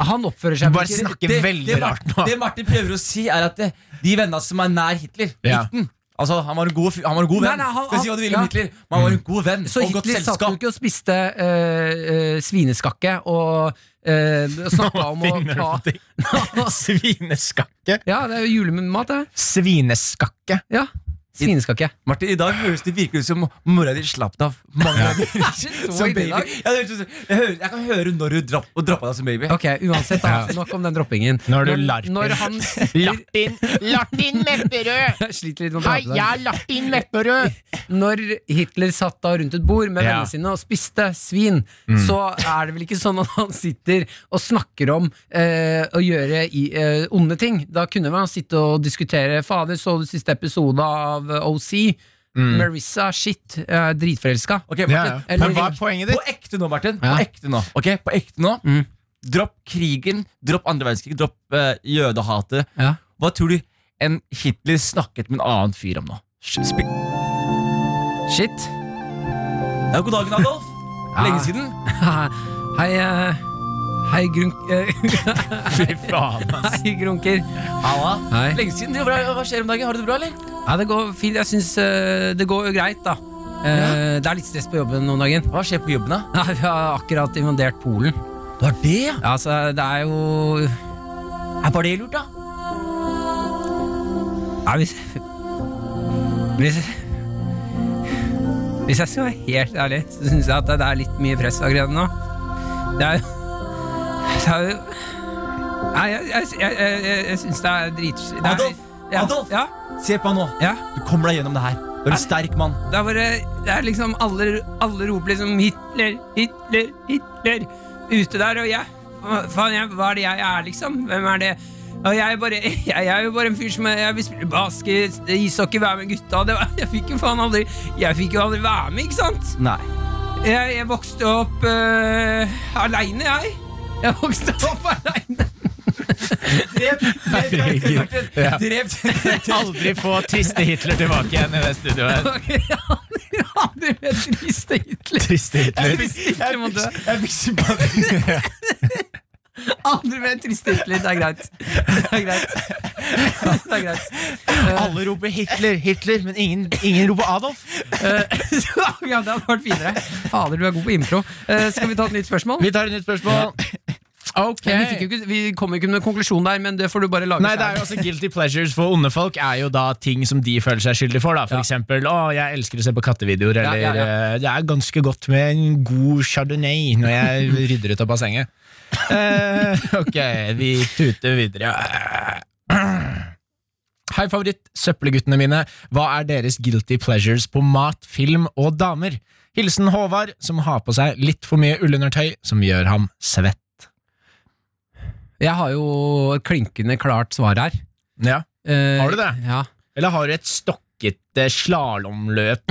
han oppfører
Du
seg
bare
ikke-
snakker veldig rart nå.
Det Martin prøver å si, er at det, de vennene som er nær Hitler
Ja.
likte den. Altså, han var en god, fyr- han var en god
Nei,
venn.
nei, han-
Skal si hva du vil
ja. Mm.
om Hitler, men han var en god venn
Så
og godt
Hitler satt jo
selskap.
ikke og spiste eh, eh, svineskakke og eh, snakka om å
finner du
ta
på ting. Svineskakke.
Ja, det er jo julemat, det.
Svineskakke.
Ja, Svineskakke.
Martin, I dag høres det virkelig ut som mora di slapp deg av. Mange ganger. som
ille i
baby. Ja,
dag.
det høres ut som- jeg, hører, jeg kan høre når du drapp, og droppa deg som baby.
Ok, uansett, da. Nok om den droppingen.
Når du larper.
når han sitter,
Lartin, Lartin Mepperød!
Jeg sliter litt med å
Hei,
prate i
jeg
dag.
er Lartin Mepperød!
Når Hitler satt da rundt et bord med
Ja.
vennene sine og spiste svin, så er det vel ikke sånn at han sitter og snakker om eh, å gjøre i, eh, onde ting. Da kunne vel han sitte og diskutere Fader, så du siste episode av eh, OC? Marissa, shit, jeg er dritforelska.
Ok, Martin,
Eller-
Men hva er poenget
På
ditt?
ekte nå, Martin.
Ja.
På ekte nå. Ok, på ekte nå
Mm.
Dropp krigen, dropp andre verdenskrig, dropp eh, jødehatet.
Ja.
Hva tror du en Hitler snakket med en annen fyr om nå? Sp sp-
Shit.
ja, god dagen, Adolf. Lenge siden.
Hei, eh, hei, grunk... eh,
Fy faen, ass.
hei, grunker.
Halla.
Hei.
Lenge siden. Du, Hva, hva skjer om dagen? Har du det bra, eller?
Ja, det går fint. Jeg syns eh, det går jo greit, da. Eh, Det er litt stress på jobben om dagen.
Hva skjer på jobben, da?
Nei, vi har akkurat invadert Polen.
Du har det, ja?
Ja, så det er jo
Er bare det lurt, da?
Nei, hvis, hvis Hvis jeg skal være helt ærlig, så syns jeg at det er litt mye press akkurat nå. Det er Det er jo Nei, jeg, jeg, jeg, jeg, jeg- jeg syns det er drit... det er-
Adolf!
Ja,
Adolf!
Ja,
Se på meg nå.
ja.
Du kommer deg gjennom det her. Du er en sterk mann.
Det er bare Det er liksom alle, alle roper liksom 'Hitler, Hitler, Hitler' ute der, og jeg hva Faen, jeg, hva er det jeg er, liksom? Hvem er det? Og jeg er, bare, jeg er jo bare en fyr som er- Jeg vil spille basket, ishockey, være med gutta. og Det var, jeg fikk jo faen aldri Jeg fikk jo aldri være med, ikke sant?
Nei.
Jeg, jeg vokste opp uh, aleine, jeg. Jeg vokste opp aleine.
Ja.
Drept.
Aldri få triste Hitler tilbake igjen i det studioet.
Jeg hadde med triste Hitler.
Triste Hitler.
Hitler må dø.
Jeg fikk sympati.
Andre med triste Hitler, det er greit. Det er greit. Det er greit.
Alle roper Hitler, Hitler, men ingen, ingen roper Adolf.
Så, Eh, ja, det hadde vært finere. Fader, du er god på impro. Eh, skal vi ta et nytt spørsmål?
Vi tar et nytt spørsmål. Ok.
Men vi, fikk jo ikke, vi kom jo ikke med noen konklusjon der, men det får du bare lage
Nei, det er
selv.
jo altså Guilty pleasures for onde folk er jo da ting som de føler seg skyldig for. da
Ja.
For eksempel å, jeg elsker å se på kattevideoer,
Ja,
eller
ja, ja.
eh, det er ganske godt med en god chardonnay når jeg rydder ut av bassenget. Eh, ok, vi tuter videre. Hei, favoritt-søppelguttene mine. Hva er deres guilty pleasures på mat, film og damer? Hilsen Håvard, som har på seg litt for mye ullundertøy, som gjør ham svett.
Jeg har jo et klinkende klart svar her.
Ja.
Eh,
Har du det?
Ja.
Eller har du et stokkete slalåmløp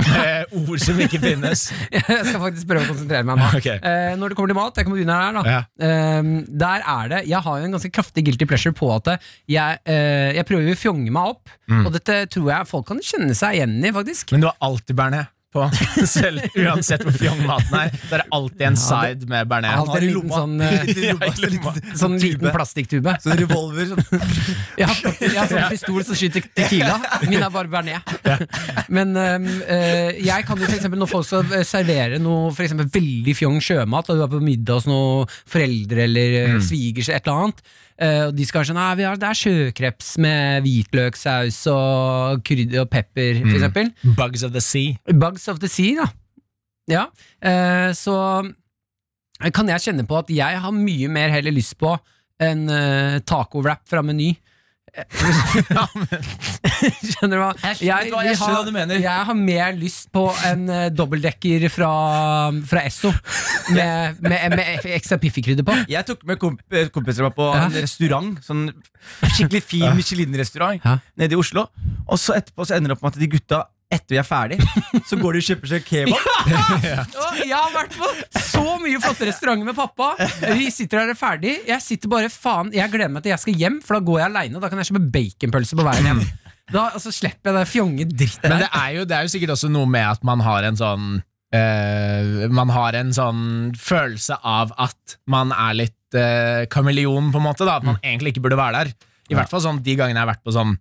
med ord som ikke finnes?
Jeg skal faktisk prøve å konsentrere meg nå.
Ok.
Eh, når det kommer til mat, jeg kan begynne her, da. Ehm, der er det Jeg har jo en ganske kraftig guilty pleasure på at jeg, eh, jeg prøver å fjonge meg opp,
Mm.
og dette tror jeg folk kan kjenne seg igjen i, faktisk.
Men du har alltid bearnés på, selv uansett hvor fjong maten er. Det er alltid en side med bearnés.
Alltid en liten sånn, eh, sånn liten plastikktube.
Sånn revolver. sånn.
Jeg har, faktisk- jeg har sånn pistol som skyter tequila. Min er bare bearnés. Men øhm, øh, jeg kan jo for eksempel når folk skal øh, servere noe for eksempel veldig fjong sjømat, og du er på middag hos noen foreldre eller øh, svigers, et eller annet, øh, og de skal sånn Nei, vi har, det er sjøkreps med hvitløksaus og krydder og pepper, for eksempel.
Bugs of the sea.
Bugs of the sea, da. Ja. eh, så eh, kan jeg kjenne på at jeg har mye mer heller lyst på en eh, taco-wrap fra Meny. Eh, skjønner du hva? vil
Jeg skjønner hva- jeg skjønner
ha-
hva du mener.
Jeg har mer lyst på en eh, dobbeltdekker fra, fra Esso med, med, med ekstra piffikrydder på.
Jeg tok med komp eh, kompiser meg på
Ja.
en restaurant. Sånn skikkelig fin Michelin-restaurant
Ja.
nede i Oslo. Og så etterpå så ender det opp med at de gutta, etter vi er ferdig, så går de og kjøper seg kebab.
Og Jeg har vært på så mye flotte restauranter med pappa. Vi sitter her og er ferdig. Jeg sitter bare, faen, jeg gleder meg til jeg skal hjem, for da går jeg aleine. Da kan jeg kjøpe baconpølse på veien hjem. Da, og så slipper jeg det fjonge dritten
Men
der.
det er, jo, det er jo sikkert også noe med at man har en sånn eh, Man har en sånn følelse av at man er litt eh, kameleon, på en måte. da At
Mm.
man egentlig ikke burde være der. I hvert fall sånn de gangene jeg har vært på sånn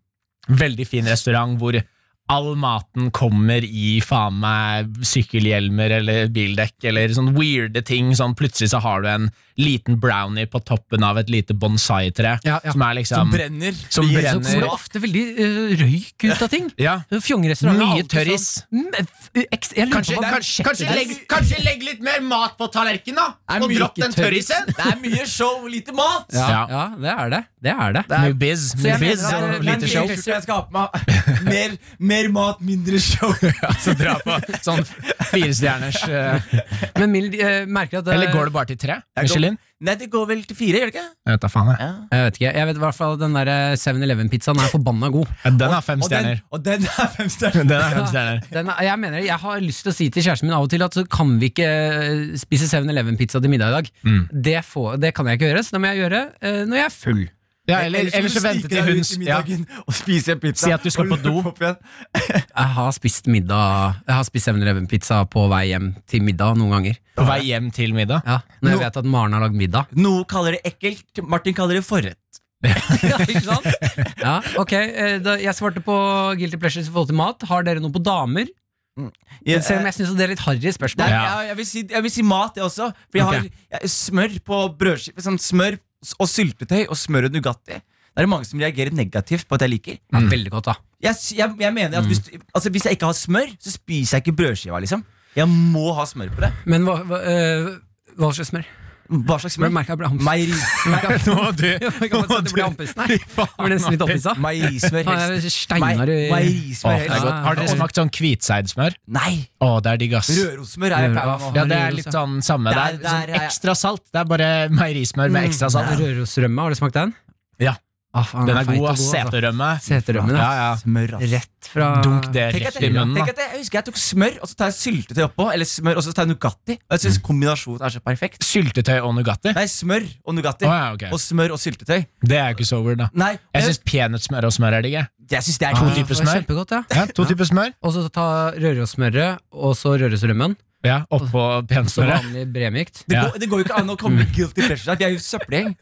veldig fin restaurant hvor all maten kommer i faen meg sykkelhjelmer eller bildekk eller sånn weirde ting. Sånn plutselig så har du en liten brownie på toppen av et lite bonsai-tre
Ja, ja.
som er liksom
Som brenner.
Som
Blir-
Så
brenner.
kommer det ofte veldig eh, røyk ut av ting.
ja.
Fjongerestauranter.
Mye
er alltid sånn-
tørris.
Mm, f- eks- jeg lurer
Kanskje,
på hva
kanskje,
konseptet
kanskje,
er.
legg, kanskje legg litt mer mat på tallerkenen, da!
Er
Og
mye ikke
dropp den
tørris?
tørrisen!
Det er mye show, lite mat!
ja,
Ja.
ja, det er det. Det er det.
Mye biz,
Så jeg
mye
mener
biz
at-
og
men-
lite
men-
show.
Jeg tror jeg skal ha på meg mer, mer mat, mindre show.
Så dra på sånn firestjerners eh,
Men Mild eh, merker at eh,
Eller går det bare til tre?
Jeg går-
Michelin?
Nei, det går vel til fire, gjør det ikke?
Jeg vet da faen, jeg.
Jeg vet ikke, jeg vet i hvert fall at den der eh, 7-Eleven-pizzaen er forbanna god.
Ja, Den har fem
Og den,
stjerner.
og den er fem stjerner.
Den har fem stjerner.
Den er, jeg mener, jeg har lyst til å si til kjæresten min av og til at så kan vi ikke eh, spise 7-Eleven-pizza til middag i dag. Det, får, det kan jeg ikke gjøre, så det må jeg gjøre eh, når jeg er full.
Ja, eller,
må
eller
du
så vente
snike
til
deg
hun
ut i
ja.
middagen og spise en pizza.
Si at du skal
og
på do.
løpe opp igjen.
Jeg har spist middag Jeg har spist 7-Eleven-pizza på vei hjem til middag noen ganger.
På vei hjem til middag.
Ja, når
Nå-
jeg vet at Maren har lagd middag.
Noe kaller det ekkelt, Martin kaller det forrett.
ja, ikke sant? Ja, ok, eh, da, Jeg svarte på Guilty Pleasures i forhold til mat. Har dere noe på damer?
Ja,
Selv
eh,
om jeg syns det er litt harry
det er-
spørsmål.
Ja.
jeg, jeg, vil si, jeg vil si mat, jeg også. For jeg
Ok.
har jeg, smør på brødskive. Sånn smør og syltetøy og smør og Nugatti. er det mange som reagerer negativt på at jeg liker.
Ja, Veldig godt, da.
Jeg, s- jeg, jeg mener
Mm.
at hvis, du- altså, hvis jeg ikke har smør, så spiser jeg ikke brødskiva. liksom Jeg må ha smør på det.
Men hva, hva, eh, hva slags smør?
Hva slags
Ble
smør?
merka jeg ble hamst.
Meieri,
Nå, du.
Jeg kan bare si at det ble hampesten her. Jeg ble nesten litt opphisset.
meierismør
Han er
helst.
Steinar i
Mei-
Å,
Meierismør
det er
helst.
godt. Har dere smakt sånn hvitseidsmør?
Nei!
Å, det er digg, ass.
Rørossmør er jeg pleier å ha.
Ja, det er litt sånn samme. Det er Mm,
Der- der
sånn
er jeg-
ekstra salt. Det er bare meierismør med ekstra salt.
Rørosrømme, har du smakt den?
Ja.
Ah, faen,
Den er
feit
god,
og
ass.
altså.
Seterømme.
Seterømmen,
Ja,
ass.
ja.
Smør, altså. ass.
Rett fra
Dunk det
Tenk at
rett
jeg,
i munnen,
tenk
da.
at jeg, jeg husker jeg tok smør, og så tar jeg syltetøy oppå. Eller smør, og så tar jeg Nugatti. Og jeg synes
Mm.
kombinasjonen er så perfekt.
Syltetøy og Nugatti?
Nei, smør og Nugatti.
Å, ja, ok.
Og smør og syltetøy.
Det er jo ikke så weird, da.
Nei,
Jeg Ah.
jeg,
syns peanøttsmør og smør er digg. jeg.
jeg syns det er
To
helt-
typer
Det var
smør.
Kjempegodt, ja.
Ja, to typer smør.
Og så ta rørosmøret, og så rørosrømmen.
Ja, Oppå
Så
peanøttsmøret.
vanlig bremykt.
Det
Ja. Mm.
går, det går jo ikke an å komme med guilty pleasure der. Vi er jo søppelgjeng.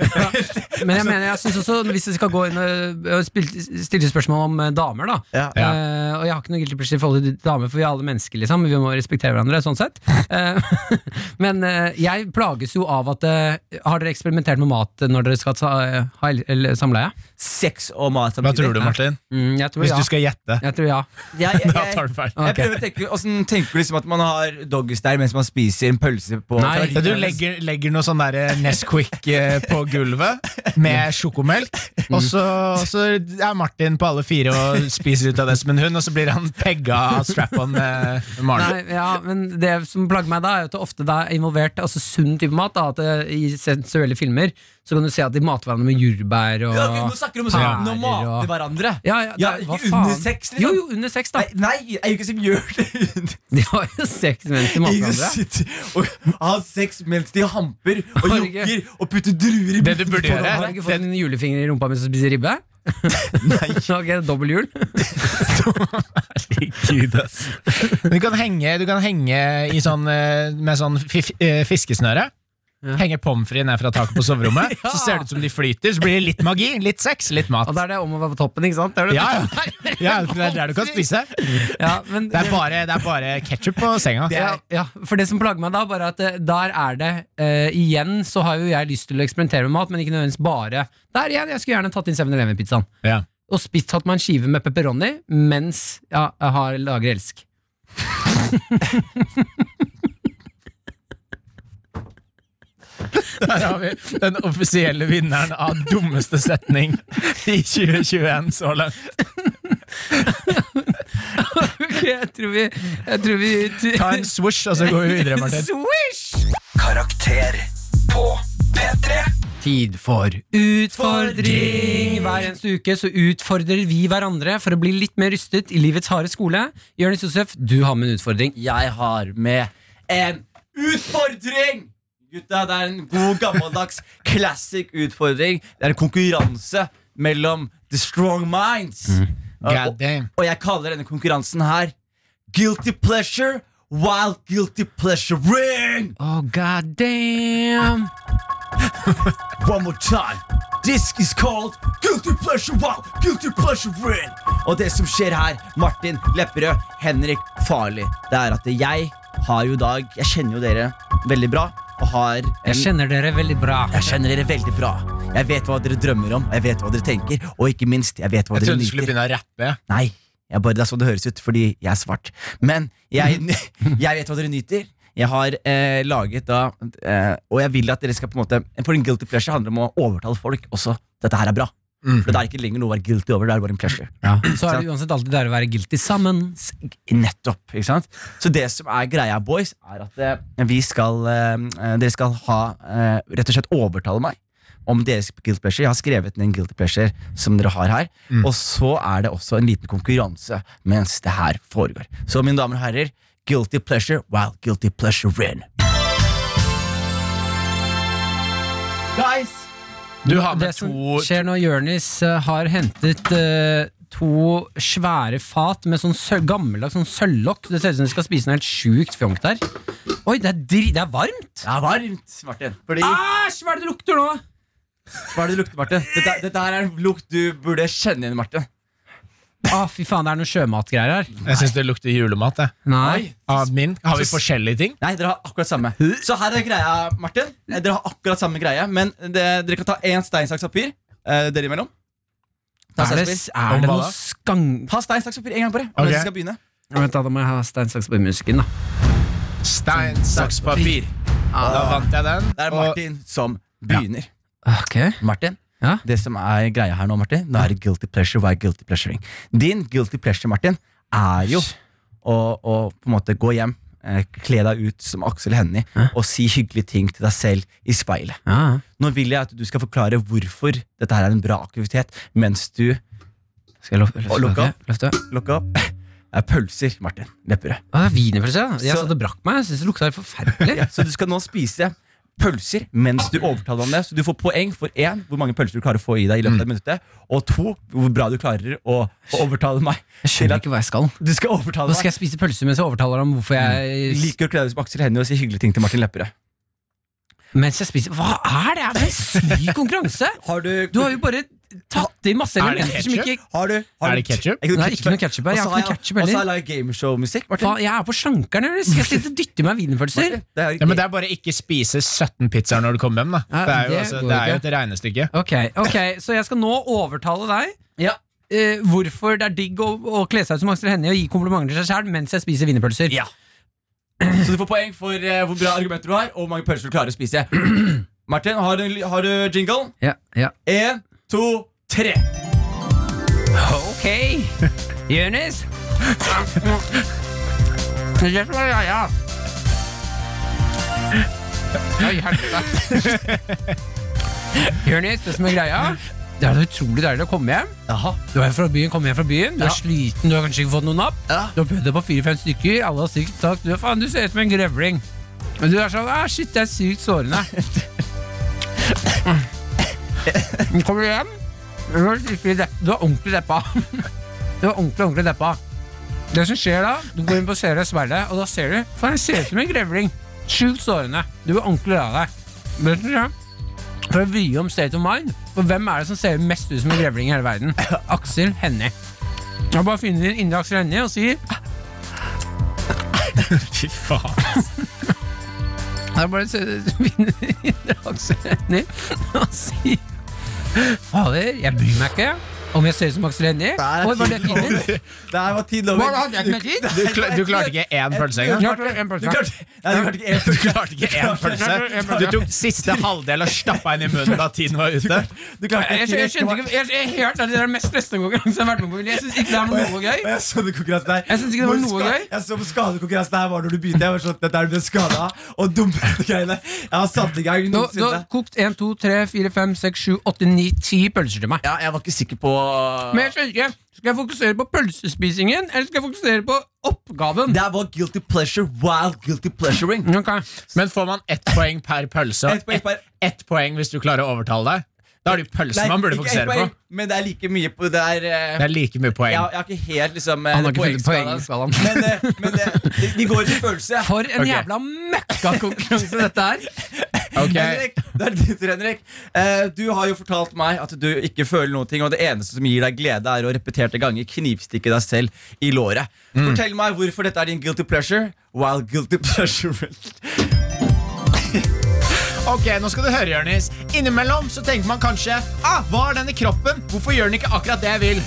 Men jeg mener, jeg synes også hvis vi skal gå inn øh, og spil- stille spørsmål om øh, damer, da
Ja.
Ja.
Eh, Og jeg har ikke noe guilty pleasure i forhold til damer, for vi er alle mennesker, liksom. Vi må respektere hverandre, sånn sett. Eh, men eh, jeg plages jo av at eh, Har dere eksperimentert med mat når dere skal ta, eh, ha el- eller samleie?
Sex og mat
Hva
samtidig.
tror du, Martin?
Mm, jeg tror
Hvis
ja.
du skal gjette.
Jeg tror ja.
Jeg, jeg,
Da
jeg,
tar du feil.
jeg
Ok.
prøver å tenke Åssen tenker du liksom at man har doggis der mens man spiser en pølse på
Nei,
Ja, Du legger, legger noe sånn der Nesquik eh, på gulvet med sjokomelk, og så, og så er Martin på alle fire og spiser ut av det som en hund, og så blir han pegga av strap-on eh, med Maren.
Nei, ja, men det som plager meg da, er jo at det ofte da er involvert altså sunn type mat. Da, at det, I sensuelle filmer så kan du se at de mater hverandre med jordbær og
ja, ok, Nå snakker du om sånn Nå
pærer
mater
og-
hverandre.
Ja, ja,
Ja,
det- hva
ikke
faen?
under sex, liksom.
Jo, jo, under sex, da.
Nei, nei, jeg er jo ikke som gjør det.
De har jo sex mens de mater
Ingen
hverandre.
sitter og har sex mens de hamper og
Norge.
jogger og putter druer i
Det du burde gjøre,
Har du ikke fått en julefinger i rumpa mens du spiser ribbe? Nei Ok, dobbel jul.
Men Du kan henge, du kan henge i sånn, eh, med sånn fi- fi- eh, fiskesnøre. Henge pommes frites ned fra taket på soverommet. Så ser det ut som de flyter. Så blir det litt magi, litt sex, litt mat.
Og da er det om å være på toppen, ikke sant? Det er det.
Ja, ja. ja, for det er der du kan spise. Det
Ja, men,
er bare, det er bare ketsjup på senga.
ja, ja, for det som plager meg da, bare at eh, der er det eh, Igjen så har jo jeg lyst til å eksperimentere med mat, men ikke nødvendigvis bare der igjen. Jeg skulle gjerne tatt inn 7-Eleven-pizzaen
Ja.
og spist tatt meg en skive med pepperoni mens ja, jeg har lager elsk.
Der har vi den offisielle vinneren av dummeste setning i 2021 så langt.
Ok, jeg tror vi, jeg tror vi
Ta en swoosh, og så går vi videre, Martin.
Swish!
Karakter på P3.
Tid for utfordring! Hver eneste uke så utfordrer vi hverandre for å bli litt mer rystet i livets harde skole. Jonis Josef, du har med en utfordring.
Jeg har med en utfordring! Gutta, det er en god, gammeldags classic utfordring. Det er en konkurranse mellom the strong minds.
Mm. God
Og,
damn.
og jeg kaller denne konkurransen her Guilty pleasure, wild guilty pleasure ring!
Oh, god damn!
One more time. This is called Guilty Pleasure Wow! Guilty Pleasure Win! Og det som skjer her, Martin Lepperød, Henrik Farli, det er at jeg har jo i dag Jeg kjenner jo dere veldig bra og har en
Jeg kjenner dere veldig bra.
jeg kjenner dere veldig bra. Jeg vet hva dere drømmer om, jeg vet hva dere tenker, og ikke minst, jeg vet hva
Jeg
dere
trodde du skulle
liker.
begynne å rappe.
Nei, jeg bare, det er sånn det høres ut, fordi jeg er svart. Men jeg, jeg vet hva dere nyter. Jeg har eh, laget da eh, Og jeg vil at dere skal på en måte For en guilty pleasure handler om å overtale folk også. Dette her er bra. For det er ikke lenger noe å være guilty over. Det er bare en pleasure.
Så er det uansett alltid der å være guilty sammen.
S- Nettopp, ikke sant? Så det som er greia, boys, er at eh, vi skal eh, eh, Dere skal ha eh, Rett og slett overtale meg om deres guilt pleasure. Jeg har skrevet ned en guilty pleasure som dere har her. Og så er det også en liten konkurranse mens det her foregår. Så mine damer og herrer, guilty pleasure while guilty pleasure win. Guys!
Du har
Det
med
som
to
skjer når Jonis eh, har hentet eh, to svære fat med sånn sø gammeldags sånn sølvlokk. Det ser ut som de skal spise noe helt sjukt fjongt der. Oi, det er, dri det er varmt!
Det er varmt, Martin. Fordi,
Æsj, hva er det det lukter nå?
Hva er det det lukter, Martin? Dette, dette her er en lukt du burde kjenne igjen, Martin.
Ah, fy faen, det er noe sjømatgreier her.
Jeg syns det lukter julemat. Jeg.
Nei.
Av min. Har vi forskjellige ting?
Nei, dere har akkurat samme. Så her er greia, Martin. Eh, Dere har akkurat samme greie, men det, dere kan ta én stein, saks, papir eh, dere imellom. Ta
Er det,
steinspapir.
er det
Om hva
noe
da?
skang...
Ta stein, saks, papir en gang på det.
Ok.
Hvem som skal begynne?
Vent da, da må jeg ha stein, saks, papir-musikken, da.
Stein, saks, papir. Da vant jeg den.
Ah. Det er
og-
Martin som begynner.
Ok.
Martin,
Ja?
det som er greia her nå, Martin, nå er det guilty pleasure. Hva er guilty pleasuring? Din guilty pleasure, Martin, er jo å, å på en måte gå hjem, eh, kle deg ut som Aksel Hennie og si hyggelige ting til deg selv i speilet.
Ja.
Nå vil jeg at du skal forklare hvorfor dette her er en bra aktivitet, mens du
Skal jeg løfte?
Og lukke opp.
Løfte.
Look up. Det er pølser, Martin. Lepperød.
Ja, det er wienerpølse. da. Jeg
Så-
satt og brakk meg. Jeg synes det lukta helt forferdelig.
Ja, så du skal nå spise pølser mens du overtaler om det. Så du får poeng for én, hvor mange pølser du klarer å få i deg i løpet av
Mm.
minuttet, og to, hvor bra du klarer å å overtale meg.
Jeg
til
skjønner
at-
ikke hva jeg skal.
Du skal overtale
Nå skal jeg
meg.
spise pølse mens jeg overtaler ham hvorfor jeg
Liker å kle deg ut som Aksel Hennie og si hyggelige ting til Martin Lepperød.
Mens jeg spiser Hva er det her for en syk konkurranse?!
Har du,
Du har jo bare tatt i masse
Er det
elementer som ikke
har du,
Er det ketchup?
Er ikke
Nei, ikke noe ketchup her. Jeg har
Og så
ikke noe ketchup
Og så
heller.
har jeg laget gameshow-musikk, Martin.
Faen, Jeg er på slankeren, eller? Skal jeg sitte og dytte i meg wienerpølser?
Martin, det er
Ja, men det er bare ikke spise 17 pizzaer når du kommer hjem, da.
Ja,
Det er jo,
det
altså,
går
det er jo
ikke.
et regnestykke.
Ok, ok, så jeg skal nå overtale deg eh, hvorfor det er digg å, å kle seg ut som Aksel Hennie og gi komplimenter til seg selv mens jeg spiser wienerpølser.
Ja. Så du får poeng for eh, hvor bra argumenter du har, og hvor mange pølser du klarer å spise. Martin, har du, har du jingle?
Ja, ja.
Én, to, tre.
Ok, Jonis. Ja, ja, ja. Oi, helvete. Jonis, det som er greia Det er så utrolig deilig å komme hjem.
Jaha.
Du er fra byen, kommer hjem fra byen. Du er sliten, du har kanskje ikke fått noen napp.
Ja.
Du har prøvd deg på fire-fem stykker. Alle har sykt sagt du, faen, du ser ut som en grevling. Men du er sånn ah, Shit, det er sykt sårende. Men Mm. Kommer du hjem? Du er skikkelig depp- du er ordentlig deppa. Du er ordentlig, ordentlig deppa. Det som skjer da, du går inn på Sere Sverre, og da ser du Faen, jeg ser ut som en grevling. Sjukt sårende. Du er ordentlig lei deg. Vet du hva? For å vri om state of mind For hvem er det som ser mest ut som en grevling i hele verden? Aksel Hennie Jeg bare finner din indre Aksel Hennie og sier Det
Fy faen.
er bare se- finner din indre Aksel Hennie Og sier Fader, jeg bryr meg ikke Om jeg ser ut som Aksel Hennie
Der er
Oi, var det
tiden
tiden?
Det her var tid
Hva hadde jeg ikke med tid?
Du, kla- du klarte ikke én pølse engang?
Klart det, en
Du
pølse.
klarte, nei, du klarte ikke
Du
én pølse.
klarte ikke én pølse? Du tok siste halvdel og stappa inn i munnen da tiden var ute?
Du klarte
Jeg, jeg, skjønte ikke, jeg, jeg, helt ærlig, det er den mest neste konkurransen jeg har vært med på. men Jeg synes ikke det er noe gøy.
Jeg så det konkurransen der.
Jeg synes ikke det var
Hvor
noe
ska-
gøy.
Jeg så på skadekonkurransen her var når du begynte. Jeg var sånn, dette er du ble skadet av, og dummeste greiene. Jeg har satt i gang
Du, du har
noensinne.
kokt 1, 2, 3, 4, 5, 6, 7, 8, 9, 10 pølser til meg.
Ja, jeg var ikke sikker på
Men jeg skjønner ikke. Skal jeg fokusere på pølsespisingen, eller skal jeg fokusere på oppgaven?
Det her var guilty pleasure, wild guilty pleasuring.
Ok.
Men får man ett poeng per pølse
Ett
og
poeng
ett,
per-
ett poeng hvis du klarer å overtale deg? Da er det jo
Nei,
pølsen man burde
ikke
fokusere
ett poeng,
på.
Men det er like mye på Det er, eh,
Det er like mye
jeg,
poeng.
jeg har ikke helt liksom eh,
Han har ikke funnet
poengskalaen.
poengskalaen.
Men, eh, men det, de- de går til følelse.
For en
Ok.
jævla møkkakonkurranse dette er.
Ok,
Henrik, det er ditt, Henrik. Eh, du har jo fortalt meg at du ikke føler noen ting, og det eneste som gir deg glede, er å repeterte ganger knivstikke deg selv i låret. Fortell meg hvorfor dette er din guilty pleasure. While guilty pleasure
Ok, nå skal du høre, Jørnis. Innimellom så tenker man kanskje ah, Hva har den i kroppen? Hvorfor gjør den ikke akkurat det jeg vil?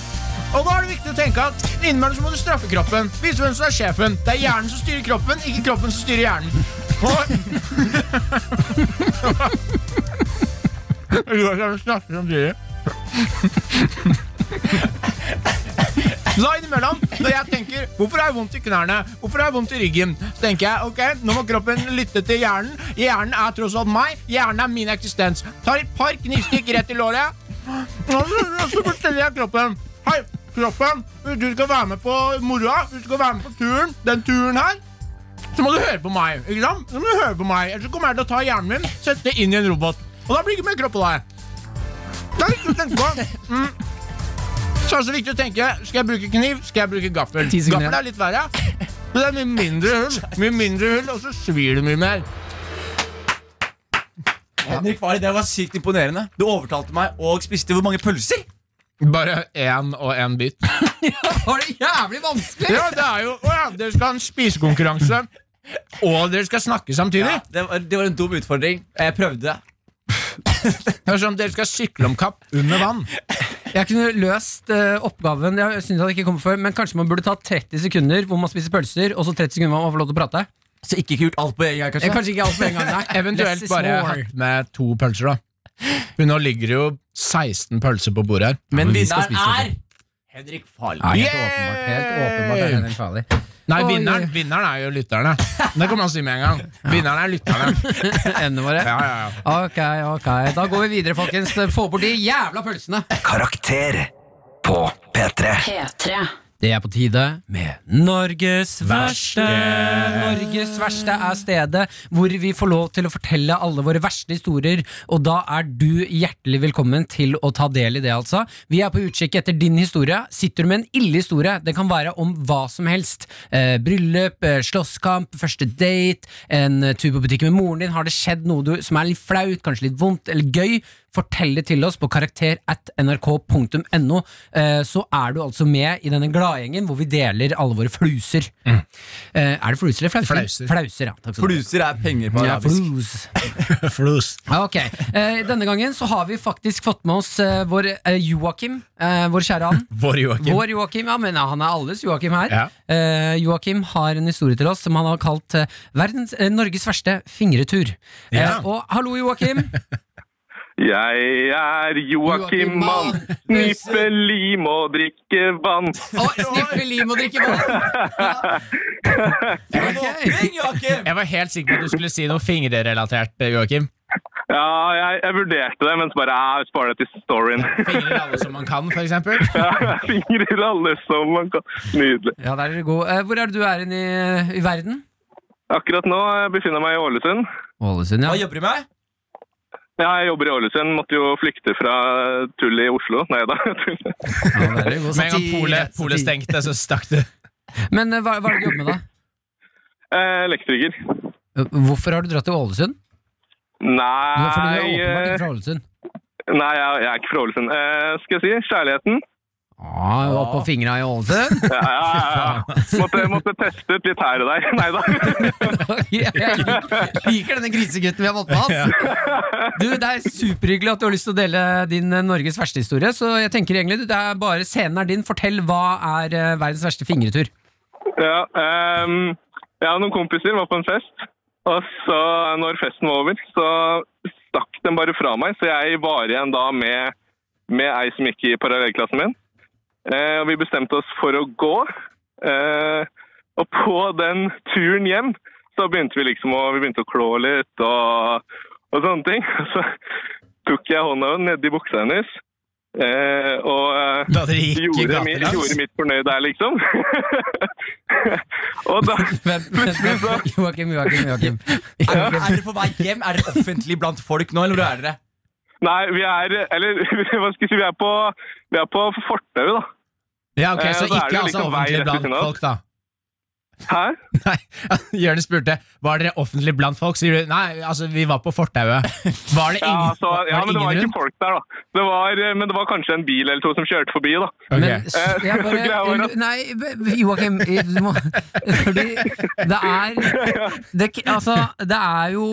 Og da er det viktig å tenke at innimellom så må du straffe kroppen. Vise hvem som er sjefen. Det er hjernen som styrer kroppen, ikke kroppen som styrer hjernen. Og... Jeg går sammen og snakker om dyret. Så innimellom, når jeg tenker 'Hvorfor har jeg vondt i knærne? Hvorfor har jeg vondt i ryggen?' Så tenker jeg ok, nå må kroppen lytte til hjernen. Hjernen er tross alt meg. Hjernen er min eksistens. Tar et par knivstikk rett i låret. Og så forteller jeg kroppen 'Hei, kroppen. Hvis du skal være med på moroa, hvis du skal være med på turen, den turen her, så må du høre på meg. ikke sant? Så må du høre på meg, Ellers så kommer jeg til å ta hjernen min, sette det inn i en robot. Og da blir det ikke mer kropp på deg. Det er viktig å tenke på. Mm. Så er det så viktig å tenke Skal jeg bruke kniv, skal jeg bruke gaffel.
Ti sekunder.
Gaffel er litt verre. Men det er mye mindre hull, mye mindre hull, og så svir det mye mer.
Henrik Fari, det var sykt imponerende. Du overtalte meg og spiste hvor mange pølser?
Bare én og én bit.
Var det jævlig vanskelig?
Ja, det er jo Å ja, dere skal ha en spisekonkurranse. Og dere skal snakke samtidig.
Det var, det var en dum utfordring. Jeg prøvde.
sånn, Det er som om dere skal sykle om kapp under vann.
Jeg kunne løst eh, oppgaven. Jeg synes jeg ikke kom før Men Kanskje man burde ta 30 sekunder hvor man spiser pølser, og så 30 sekunder hvor man får lov til å prate.
Så ikke kult alt på en gang,
Eh,
kanskje?
Kanskje ikke alt på en gang, nei. Less
Eventuelt
is
bare
more.
hatt med to pølser, da. For nå ligger det jo 16 pølser på bordet her.
Men vinneren
spise
er Henrik Farley.
Helt åpenbart. Helt åpenbart er Henrik Farley.
Nei,
Oi.
vinneren, vinneren er jo lytterne. Det kan man si med en gang. Vinneren er lytterne.
Endene våre.
Ja, ja, ja.
Ok, ok. Da går vi videre, folkens. Få bort de jævla pølsene.
Karakter på P3.
P3.
Det er på tide med Norges verste. Norges verste er stedet hvor vi får lov til å fortelle alle våre verste historier, og da er du hjertelig velkommen til å ta del i det, altså. Vi er på utkikk etter din historie. Sitter du med en ille historie, det kan være om hva som helst. Eh, bryllup, eh, slåsskamp, første date, en eh, tur på butikken med moren din. Har det skjedd noe du, som er litt flaut, kanskje litt vondt eller gøy? Fortell det til oss på karakter at nrk.no, eh, så er du altså med i denne gladgjengen hvor vi deler alle våre fluser. Eh, Er det fluser eller flauser?
Flauser.
Flauser, ja. Takk skal du ha.
Fluser er penger på
Ja,
arabisk.
flus.
Flus.
Ja, ok. Eh, Denne gangen så har vi faktisk fått med oss eh, vår eh, Joakim, eh, vår kjære han.
Vår Joakim.
Vår Joakim, ja, men han er alles Joakim her.
Ja.
Eh, Joakim har en historie til oss som han har kalt eh, verdens, eh, Norges verste fingretur. Eh,
Ja.
og hallo, Joakim.
Jeg er
Joakim
Joakim Mann, knipe lim og drikke vann.
Å, sniffe lim og drikke vann! Ja. Ok.
Peng, Joakim!
Jeg var helt sikker på at du skulle si noe fingerrelatert, Joakim.
Ja, jeg, jeg vurderte det, men så bare jeg sparer det til storyen.
Fingrer alle som man kan, for eksempel.
Fingrer alle som man kan. Nydelig.
Ja, der er du god. Eh, hvor er det du er hen i, i verden?
Akkurat nå eh, befinner jeg meg i Ålesund.
Ålesund,
Hva
ja.
jobber du med?
Ja, jeg jobber i Ålesund. Måtte jo flykte fra tull i Oslo. Nei da. tull.
ja der er du god.
Med en gang
Satire,
polet pole
satire.
stengte, så stakk du.
Men eh, hva, hva er det du jobber med, da?
Eh, Elektriker.
Eh, Hvorfor har du dratt til Ålesund? Du, fordi du er
Nei
åpenbart ikke
eh,
fra Ålesund.
Nei, jeg, jeg er ikke fra Ålesund. Eh, skal jeg si kjærligheten?
Ah, Oppå fingra i Ålesund?
Ja, ja, ja. ja. Måtte, måtte teste ut litt her og der. Nei da.
Jeg liker- liker denne grisegutten vi har valgt med oss. Du, Det er superhyggelig at du har lyst til å dele din eh, Norges verste historie. Så jeg tenker egentlig du, det er bare Scenen er din. Fortell hva er eh, verdens verste fingretur.
Ja, ehm, jeg og noen kompiser var på en fest, og så når festen var over, så stakk den bare fra meg, så jeg var igjen da med, med ei som gikk i parallellklassen min. Eh, og vi bestemte oss for å gå, eh, og på den turen hjem, så begynte vi liksom å, vi begynte å klå litt og, og sånne ting. Så tok jeg hånda nedi buksa hennes, eh, og... eh,
Da dere gikk i
gjorde, mitt, gjorde
gatelangs.
mitt fornøyd der, liksom. og da
Vent, vent, vent. Joakim, Joakim, Joakim.
Er, er dere på vei hjem? Er dere offentlig blant folk nå, eller hvor er dere?
Nei, vi er Eller hva skal jeg si, vi er på, vi er på fortauet, da.
Ja, ok,
Eh,
Så
og da er det
ikke
jo
altså
liksom vei
offentlig
rett ved
blant
siden av.
folk, da.
Hæ?
Nei, Jørnes spurte Var dere offentlig blant folk? Sier du nei, altså vi var på fortauet. Var det
Ja,
ingen,
så, ja
var
men det var
det ingen rundt?
ikke folk der, da. Det var, eh, men det var kanskje en bil eller to som kjørte forbi, da.
Ok.
Men s-
Eh,
jeg
greia var
bare
at-
Nei, Joakim, du må Fordi det er det, k- Altså, det er jo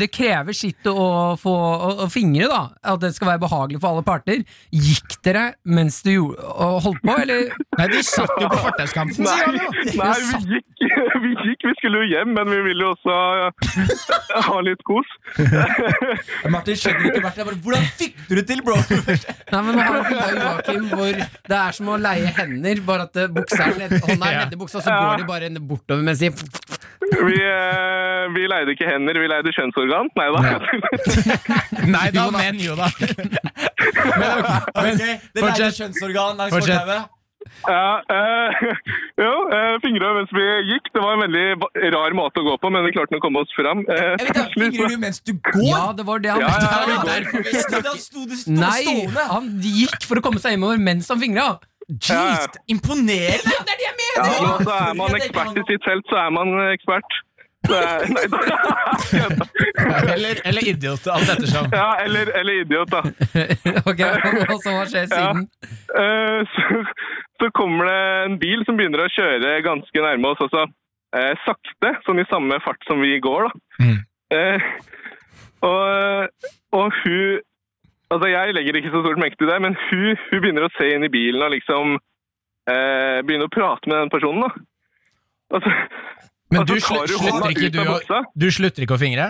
Det krever sitt å få å, å fingre, da. At det skal være behagelig for alle parter. Gikk dere mens du gjorde, og holdt på, eller?
Nei, de satt jo på fortauskanten, sier han jo!
Nei, vi gikk, vi gikk. Vi skulle jo hjem, men vi ville jo også eh, ha litt kos.
Martin skjønner ikke Martin. Jeg Bare, Hvordan fikk du det til, bro?
Nei, men nå har vi bildet av Joakim hvor det er som å leie hender, bare at eh, buksa er ned, hånda er nedi buksa, så går de bare bortover mens de
Vi, eh, vi leide ikke hender, vi leide kjønnsorgan. Nei da.
Nei da, men jo da.
Ok, Det er
fortsett.
kjønnsorgan langs
Fortsett.
fortauet.
Ja, eh, jo, eh, fingra mens vi gikk. Det var en veldig ba- rar måte å gå på, men vi klarte å komme oss fram. Eh,
Jeg vet ikke, Fingrer du mens du går?
Ja, det var det han
Ja,
Ja,
ja, vi
det
går.
er derfor vi snakker. Da sto du sto
Nei,
stående.
han gikk for å komme seg hjemover mens han fingra.
Ja.
Sykt imponerende!
Det er det jeg
ja,
mener!
men så er man
sånn-
ekspert i sitt felt, så er man ekspert. Så er- Nei, da.
Eller, eller idiot, alt ettersom.
Ja, eller, eller idiot, da.
ok, og så hva skjer siden?
Eh, så, så kommer det en bil som begynner å kjøre ganske nærme oss også. Eh, sakte, sånn i samme fart som vi går, da.
Mm.
Eh, og, og hun Altså, Jeg legger ikke så stort merke til det, men hun, hun begynner å se inn i bilen og liksom eh, begynner å prate med den personen. da. Altså,
Men
altså,
du
tar
slu-
hun
slutter
hånda
ikke
ut
du
av
å,
buksa?
du slutter ikke å fingre?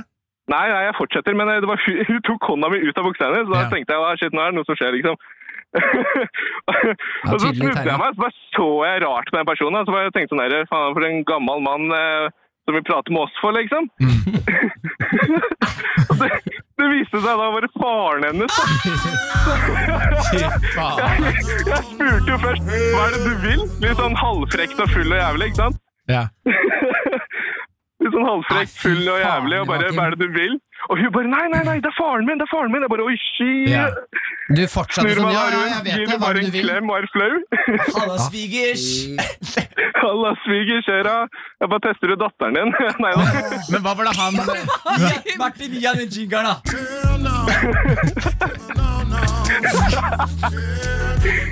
Nei, nei, jeg fortsetter, men eh, det var, hun, hun tok hånda mi ut av buksa hennes, så da
Ja.
tenkte jeg, hva shit, nå er det noe som skjer, liksom. og så
tydelig
snudde
tegnet.
jeg meg, så bare så jeg rart på den personen, og så bare tenkte jeg sånn der, faen, for en gammel mann eh, som vil prate med oss for, liksom.
Mm.
Og det, det viste seg da å være faren hennes. da. Jeg, jeg spurte jo først, hva er det du vil? Litt sånn halvfrekt og full og jævlig, ikke sant?
Ja.
Litt sånn halvfrekk,
Nei, fy
full og
faen,
jævlig, og bare
Joakim.
'hva er det du vil?' Og hun bare 'nei, nei, nei, det er faren min', det er faren min. Jeg bare 'oi, shit'.
Ja.
Du fortsatte
Snur
sånn,
meg
ja,
da
ja, jeg
rundt,
vet
gir
det,
meg
hva er
bare
det
en
du vil?
klem og er flau.
Halla, svigers!
Halla, svigers, kjæra. Jeg bare tester ut datteren din. Nei da.
Men hva var det han
Martin, gi han den jingeren, da.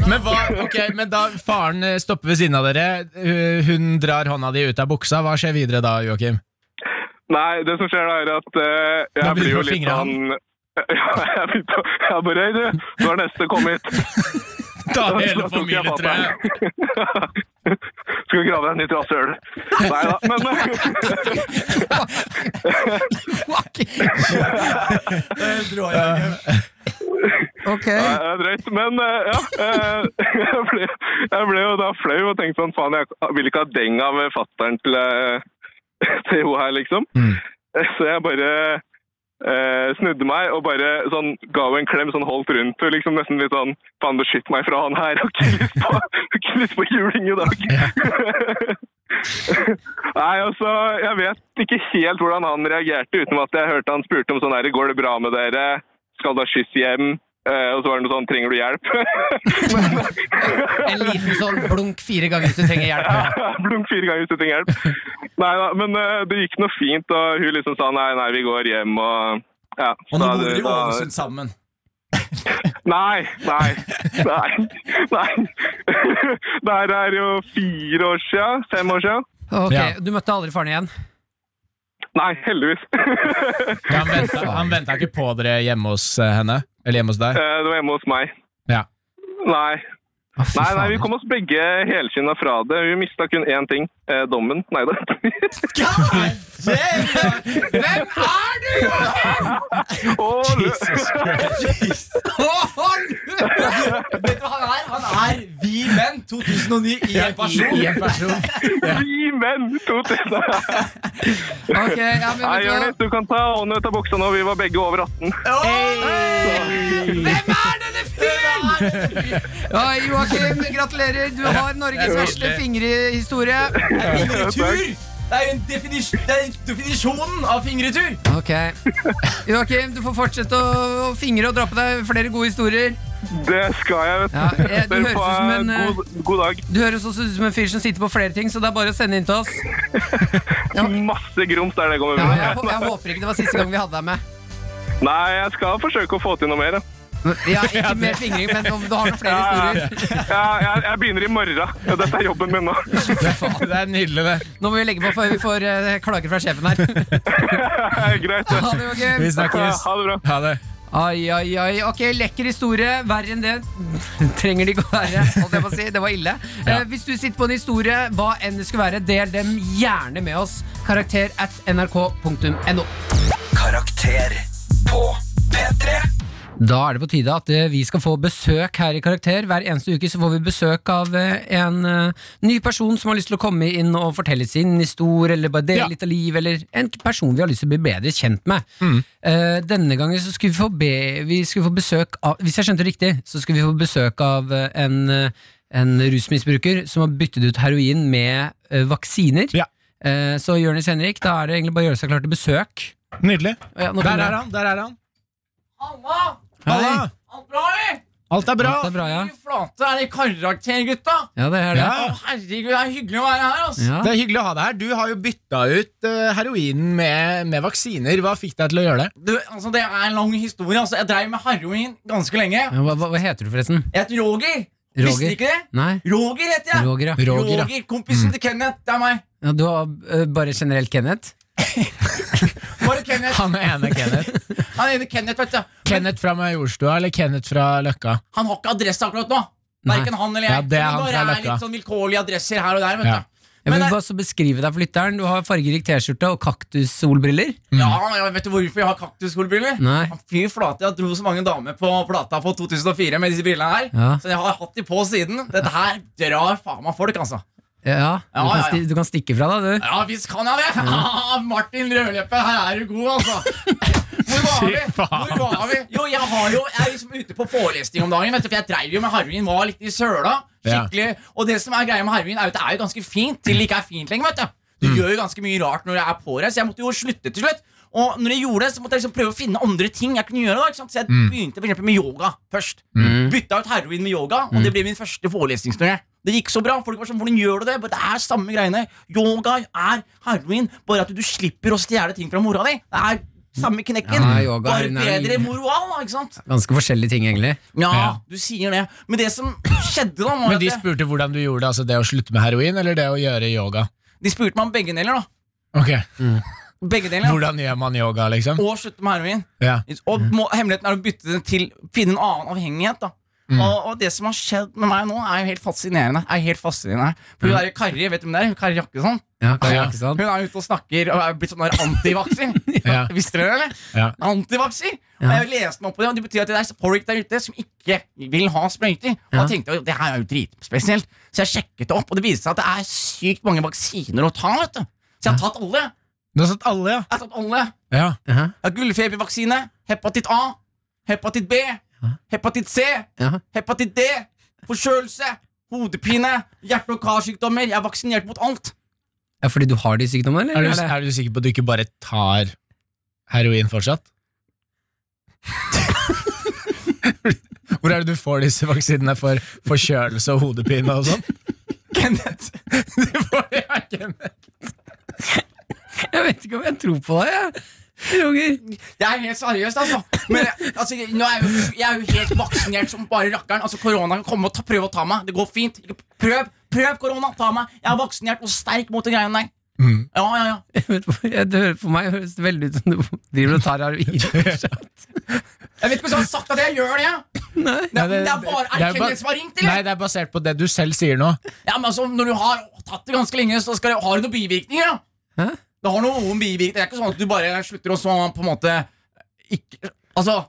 Men hva, ok, men da faren eh, stopper ved siden av dere, eh, hun drar hånda di ut av buksa, hva skjer videre da, Joakim?
Nei, det som skjer da, er at eh,
Da
jeg
blir
blir
du
jo
på
litt
fingrene.
sånn ja, jeg begynte å Jeg bare Hei, du. Du er neste. Kom hit.
Da
Da
er hele
tok jeg
familien, tror jeg.
pappaen. Skal vi grave deg en nytt rasshøl? Nei da. Men
Eh,
Ok
Nei, det er drøyt. Men eh, ja, eh, jeg ble, jeg ble jo da flau og tenkte sånn, faen, jeg vil ikke ha deng av fatteren til, eh, til henne her, liksom.
Mm.
Så jeg bare eh, snudde meg og bare sånn, ga henne en klem, sånn holdt rundt henne, liksom nesten litt sånn, faen, beskytt meg fra han her, og ikke lyst på, ikke lyst på juling i dag. Nei, altså, jeg vet ikke helt hvordan han reagerte, uten at jeg hørte han spurte om sånn her, går det bra med dere? Skal du ha skyss hjem? Eh, og så var det noe sånn, trenger du hjelp?
En liten sånn blunk fire ganger hvis du trenger hjelp.
Blunk fire ganger hvis du trenger hjelp. Nei da, men eh, det gikk noe fint, og hun liksom sa nei, nei, vi går hjem og ja,
Og nå
da-
bor dere i
da-
Ålesund sammen.
Nei, nei, nei, nei. Det her er jo fire år siden, fem år siden.
Ok,
Ja.
Du møtte aldri faren igjen?
Nei, heldigvis.
Ja, han, venta, han venta ikke på dere hjemme hos eh, henne? Eller hjemme hos
Eh,
deg?
Det var hjemme hos meg.
Ja.
Nei,
Å, fy
nei, nei, vi
faen.
kom oss begge helskinna fra det. Hun mista kun én ting. Eh, dommen. Nei da.
Jesus Christ.
Vet du hva han er? Han er Vi Menn 2009 i en person.
I en person.
Vi menn! To til.
Ok, ja, men
Nei,
vet du hva?
Jonis, du kan ta hånden ut av buksa nå. Vi var begge over 18.
Ja, Joakim, gratulerer. Du har Norges verste fingrehistorie.
Fingretur! Det er jo en definis det er definisjonen av fingretur.
Ok. Joakim, du får fortsette å å fingre og dra på deg flere gode historier.
Det skal jeg, vet
Ja, eh, du
Dere
høres
får
ut som
ha
en, eh,
god, god dag.
Du høres også ut som en fyr som sitter på flere ting, så det er bare å sende inn til oss. Ja.
Masse grums der det kommer
Ja,
fra.
jeg, hå- jeg håper ikke det var siste gang vi hadde deg med.
Nei, jeg skal forsøke å få til noe mer. da.
Ja, ikke mer fingring, men om du har noen flere historier.
Ja, jeg, jeg begynner i morgen. Ja, Dette er jobben min nå.
Det er nydelig, det.
Nå må vi legge på før vi får eh, klager fra sjefen her.
Greit. det.
Ha det, Joakim.
Vi snakkes.
Ha det bra.
Ha det.
Ai, ai, ai. Ok, lekker historie. Verre enn det trenger det ikke å være. holdt jeg på å si. Det var ille.
Ja.
Eh, hvis du sitter på en historie, hva enn det skulle være, del dem gjerne med oss. Karakter at nrk.no.
Karakter på P3
Da er det på tide at eh, vi skal få besøk her i Karakter. Hver eneste uke så får vi besøk av eh, en eh, ny person som har lyst til å komme inn og fortelle sin historie, eller bare dele
Ja.
litt av liv, eller en person vi har lyst til å bli bedre kjent med.
Mm.
Eh, denne gangen så skulle vi få, be, vi skulle få besøk av Hvis jeg skjønte det riktig, så skulle vi få besøk av eh, en, eh, en rusmisbruker som har byttet ut heroin med eh, vaksiner.
Ja.
Eh, så Jonis Henrik, da er det egentlig bare å gjøre seg klar til besøk.
Nydelig.
Ja, nå
Der
kommer
er
jeg.
han. der er han
Halla!
Halla!
Alt bra, eller?
Alt er bra.
Det er bra, ja.
Fy flate, er det karakter, gutta?
ja, det er det.
Ja.
Å, herregud, det er hyggelig å være her, altså.
Ja.
Det er hyggelig å ha deg her. Du har jo bytta ut eh, heroinen med, med vaksiner. Hva fikk deg til å gjøre det?
Du, altså, det er en lang historie. altså. Jeg dreiv med heroin ganske lenge.
Ja, Hva, hva, hva heter du forresten?
Jeg heter Roger. Visste
Roger?
dere ikke det?
Nei,
Roger heter jeg.
Roger, ja.
Roger, ja. Mm.
eh,
Kompisen til Kenneth. Det er meg.
ja du har ø, bare generelt Kenneth?
Var det Kenneth?
Han er ene Kenneth.
Han ene Kenneth, vet du.
Kenneth fra Majorstua eller Kenneth fra Løkka?
Han har ikke adresse akkurat nå.
Nei.
Verken han eller jeg.
Ja, det er
Men
han
bare
fra
er
Løkka.
litt sånn vilkårlige adresser her og der. vet
Ja.
du.
Jeg
Men
vil
det-
bare også beskrive deg for lytteren. Du har fargerik T-skjorte og kaktussolbriller.
Ja,
Mm.
ja, Vet du hvorfor jeg har kaktusskolebriller?
Nei.
Fy flate, jeg dro så mange damer på plata på 2004 med disse brillene her.
Ja.
Så jeg har hatt de på siden. Dette her drar faen meg folk, altså.
Ja, du,
Ja,
kan
ja, ja.
sti, du kan stikke fra deg, du.
Ja visst kan jeg det! Ah, Martin Rødleppe, her er du god, altså. Hvor var vi? Hvor var vi? Jo, jeg, var jo, jeg er liksom ute på forelesning om dagen, vet du, for jeg dreiv jo med heroin, var litt i søla.
Ja.
Skikkelig. Og det som er greia med heroin, er jo at det er jo ganske fint til det ikke er fint lenger, vet du. Du
Mm.
gjør jo ganske mye rart når jeg er påreist, så jeg måtte jo slutte til slutt. Og når jeg gjorde det, så måtte jeg liksom prøve å finne andre ting jeg kunne gjøre. da, ikke sant? Så jeg
Mm.
begynte for eksempel med yoga først. Bytta ut heroin med yoga, og
Mm.
det ble min første forelesningsturné. Det gikk så bra. Folk var sånn, hvordan gjør du det? Bare, det er samme greiene. Yoga er heroin, bare at du slipper å stjele ting fra mora di. Det er samme knekken.
Ja, yoga er
bare
en-
bedre moroal, da, ikke sant?
Ganske forskjellige ting, egentlig.
Ja,
Ja.
du sier det. Men det som skjedde da, var
Men
at
de
de,
spurte hvordan du gjorde det, altså det å slutte med heroin eller det å gjøre yoga.
de spurte meg om begge deler, da.
Ok,
Begge deler.
Hvordan gjør man yoga, liksom?
Og slutte med heroin.
Ja.
Og må, hemmeligheten er å bytte det til finne en annen avhengighet. da
Mm.
og, og det som har skjedd med meg nå, er jo helt fascinerende. Er helt fascinerende For hun der Kari, vet du hvem det er? Kari Jakkesson.
Ja, Kari
Ja.
Jakkesson.
Hun er ute og snakker og er blitt sånn der antivakser.
Ja.
Visste dere det? eller?
Ja.
Antivakser! Og jeg leste meg opp på det, og det betyr at det er folk der ute som ikke vil ha sprøyter. Og jeg tenkte jo, det her er jo dritspesielt, så jeg sjekket det opp, og det viste seg at det er sykt mange vaksiner å ta. vet du Så jeg har tatt alle.
Du har satt alle,
Jeg har tatt alle
ja. ja.
Ja.
jeg har gullfebervaksine, hepatitt A, hepatitt B, hepatitt C,
Ja.
hepatitt D, forkjølelse, hodepine, hjerte- og karsykdommer. Jeg er vaksinert mot alt.
Ja, fordi du har de sykdommene,
Er,
eller?
du,
Eller?
er du sikker på at du ikke bare tar heroin fortsatt? Hvor er det du får disse vaksinene for forkjølelse og hodepine og sånn?
Kenneth.
Du får det av Kenneth.
Jeg vet ikke om jeg tror på deg, jeg. Roger.
Det er helt seriøst, altså. Men jeg- altså, jeg- nå er jeg, jo, jeg er jo helt vaksinert som bare rakkeren. Altså, Korona kan komme og ta, prøve å ta meg. Det går fint. Ikke- Prøv prøv korona, ta meg. Jeg er vaksinert og sterk mot de greiene der. Ja, ja, ja.
Jeg vet hvor- jeg- Det hører- for meg høres det veldig ut som du driver og tar heroin.
Jeg vet ikke om jeg har sagt at jeg gjør det. jeg.
Nei.
Det, det,
det-
er bare
det er
er det
bare-
Kenneth som har ringt, eller?
Nei, det er basert på det du selv sier nå.
Ja, men altså, Når du har tatt det ganske lenge, så skal det, har det noen bivirkninger. da
Hæ?
Det har noen bivirkninger. Det er ikke sånn at du bare slutter å så på en måte ikke Altså,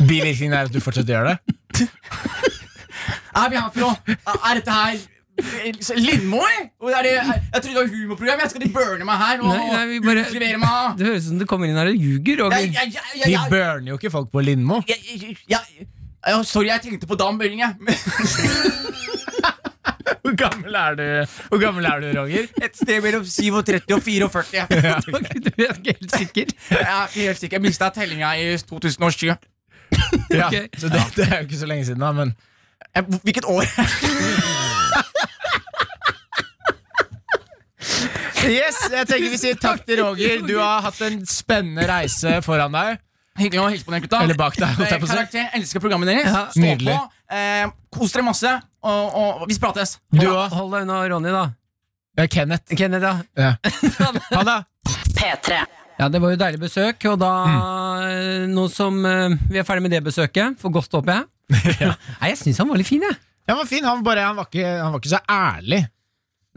Bivirkningen er at du fortsatt gjør det.
er vi her for å Er dette her Lindmo, eller? Og er det, er, jeg trodde det var humorprogram. Jeg skal de burne meg her og
Nei, nei, vi bare-
utlevere meg?
Det høres ut som du kommer inn her og ljuger,
Jeg,
Roger.
jeg, jeg, jeg,
De
jeg,
burner jo ikke folk på Lindmo.
jeg, jeg, jeg, jeg Sorry, jeg tenkte på Dan Børring, jeg.
Hvor gammel er du, Hvor gammel er du Roger?
Et sted mellom 37 og 44. Jeg
Du er ikke helt sikker.
er ikke helt sikker. Jeg mista tellinga i 2007.
Ja,
Ok.
så det, det er jo ikke så lenge siden, da. Men
Jeg, hvilket år?
yes, jeg tenker vi sier takk til Roger. Du har hatt en spennende reise foran deg.
Hyggelig å hilse på dere, gutta.
Eller bak deg, holdt jeg på å si.
Karakter, elsker programmet deres.
Ja,
Stå
nydelig.
på. Eh, kos dere masse, og, og vi prates.
Du
Hold,
òg.
hold deg unna Ronny, da.
Ja, Kenneth.
Kenneth, ja.
Ja. Ha det.
P3.
Ja, Det var jo deilig besøk, og da eh, Nå som eh, vi er ferdig med det besøket, for godt, håper jeg. Nei, jeg syns han var litt fin, jeg.
Ja, men fin. Han, bare, han, var ikke, han var ikke så ærlig.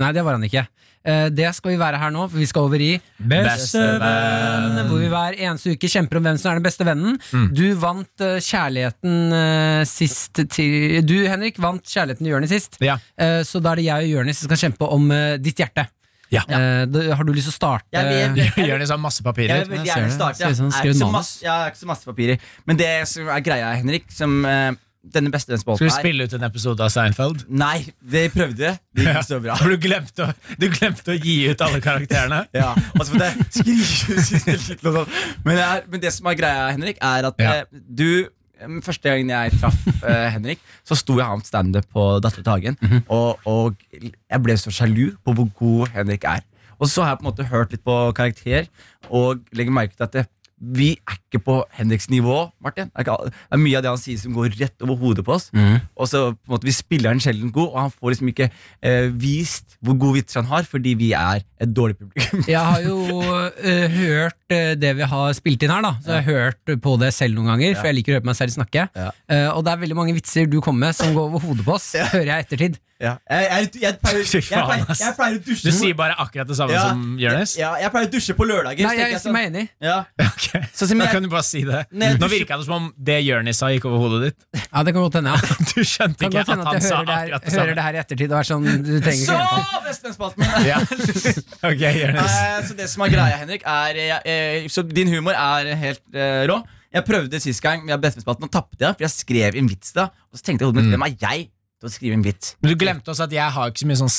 Nei, det var han ikke. Eh, Det skal vi være her nå, for vi skal over i Bestevenn. Hvor vi hver eneste uke kjemper om hvem som er den beste vennen. Du vant eh, kjærligheten eh, sist til Du, Henrik, vant kjærligheten til Jonis sist.
Ja.
Eh, Så da er det jeg og Jonis som skal kjempe om eh, ditt hjerte.
Ja.
Eh, da- Har du lyst til å starte?
Jeg vil-
Jonis har sånn masse papirer.
vil gjerne starte, ja. Jeg er ikke så masse-
jeg er ikke så masse papirer. Men det som er greia, Henrik, som denne
Skal
bestevennsbolten
vi spille ut en episode av Seinfeld?
Nei, det prøvde jeg. Det gikk ikke så bra.
For du glemte, å, du glemte å gi ut alle karakterene.
Ja, altså for det skrives i litt og sånn. men, det er, men det som er greia, Henrik, er at
Ja.
eh, du eh, Første gangen jeg traff eh, Henrik, så sto jeg og han standup på Dattera til Hagen.
Mhm.
og, og jeg ble så sjalu på hvor god Henrik er. Og så har jeg på en måte hørt litt på karakter, og legger merke til at det,
vi er ikke på Henriks nivå, Martin. Det er, ikke, all- det er mye av det han sier som går rett over hodet på oss.
Mhm.
Og så på en måte, Vi spiller han sjelden god, og han får liksom ikke eh, vist hvor gode vitser han har, fordi vi er et dårlig publikum.
Jeg har jo eh, hørt eh, det vi har spilt inn her, da. Så jeg har hørt på det selv noen ganger, for jeg liker å høre på meg selv snakke.
Ja.
Eh, og det er veldig mange vitser du kommer med som går over hodet på oss, hører jeg i ettertid.
Ja. Jeg, jeg, jeg, pleier,
Fy
jeg,
faen,
pleier,
ass.
jeg pleier å
Du
dusje
sier bare akkurat det samme
Ja.
som Jonis?
ja, Jeg pleier å dusje på lørdager.
Nei,
så tenker
jeg sier
sånn-
meg enig.
ja.
Ok.
Så sier
Da
jeg,
kan du bare si det.
Nei,
Nå
du-
virka det som om det Jonis sa, gikk over hodet ditt.
Ja, det kan godt hende, ja.
Du skjønte
Kan
ikke
godt
at
hende at
han
jeg
sa
hører det,
akkurat det
her, hører
samme.
det her i ettertid og er sånn Du trenger
Så,
ikke gjenta det.
Vestlandsspalten min!
Ja. Ok, Jonis.
Eh, så det som er greia, Henrik, er jeg- eh, Så din humor er helt eh, rå. Jeg prøvde sist gang med Bestefestivalen og tapte, jeg, for jeg skrev en vits da. Og så
Mm.
tenkte jeg i hodet mitt, hvem er jeg til å skrive en vits?
Men du glemte også at jeg har ikke så mye sånn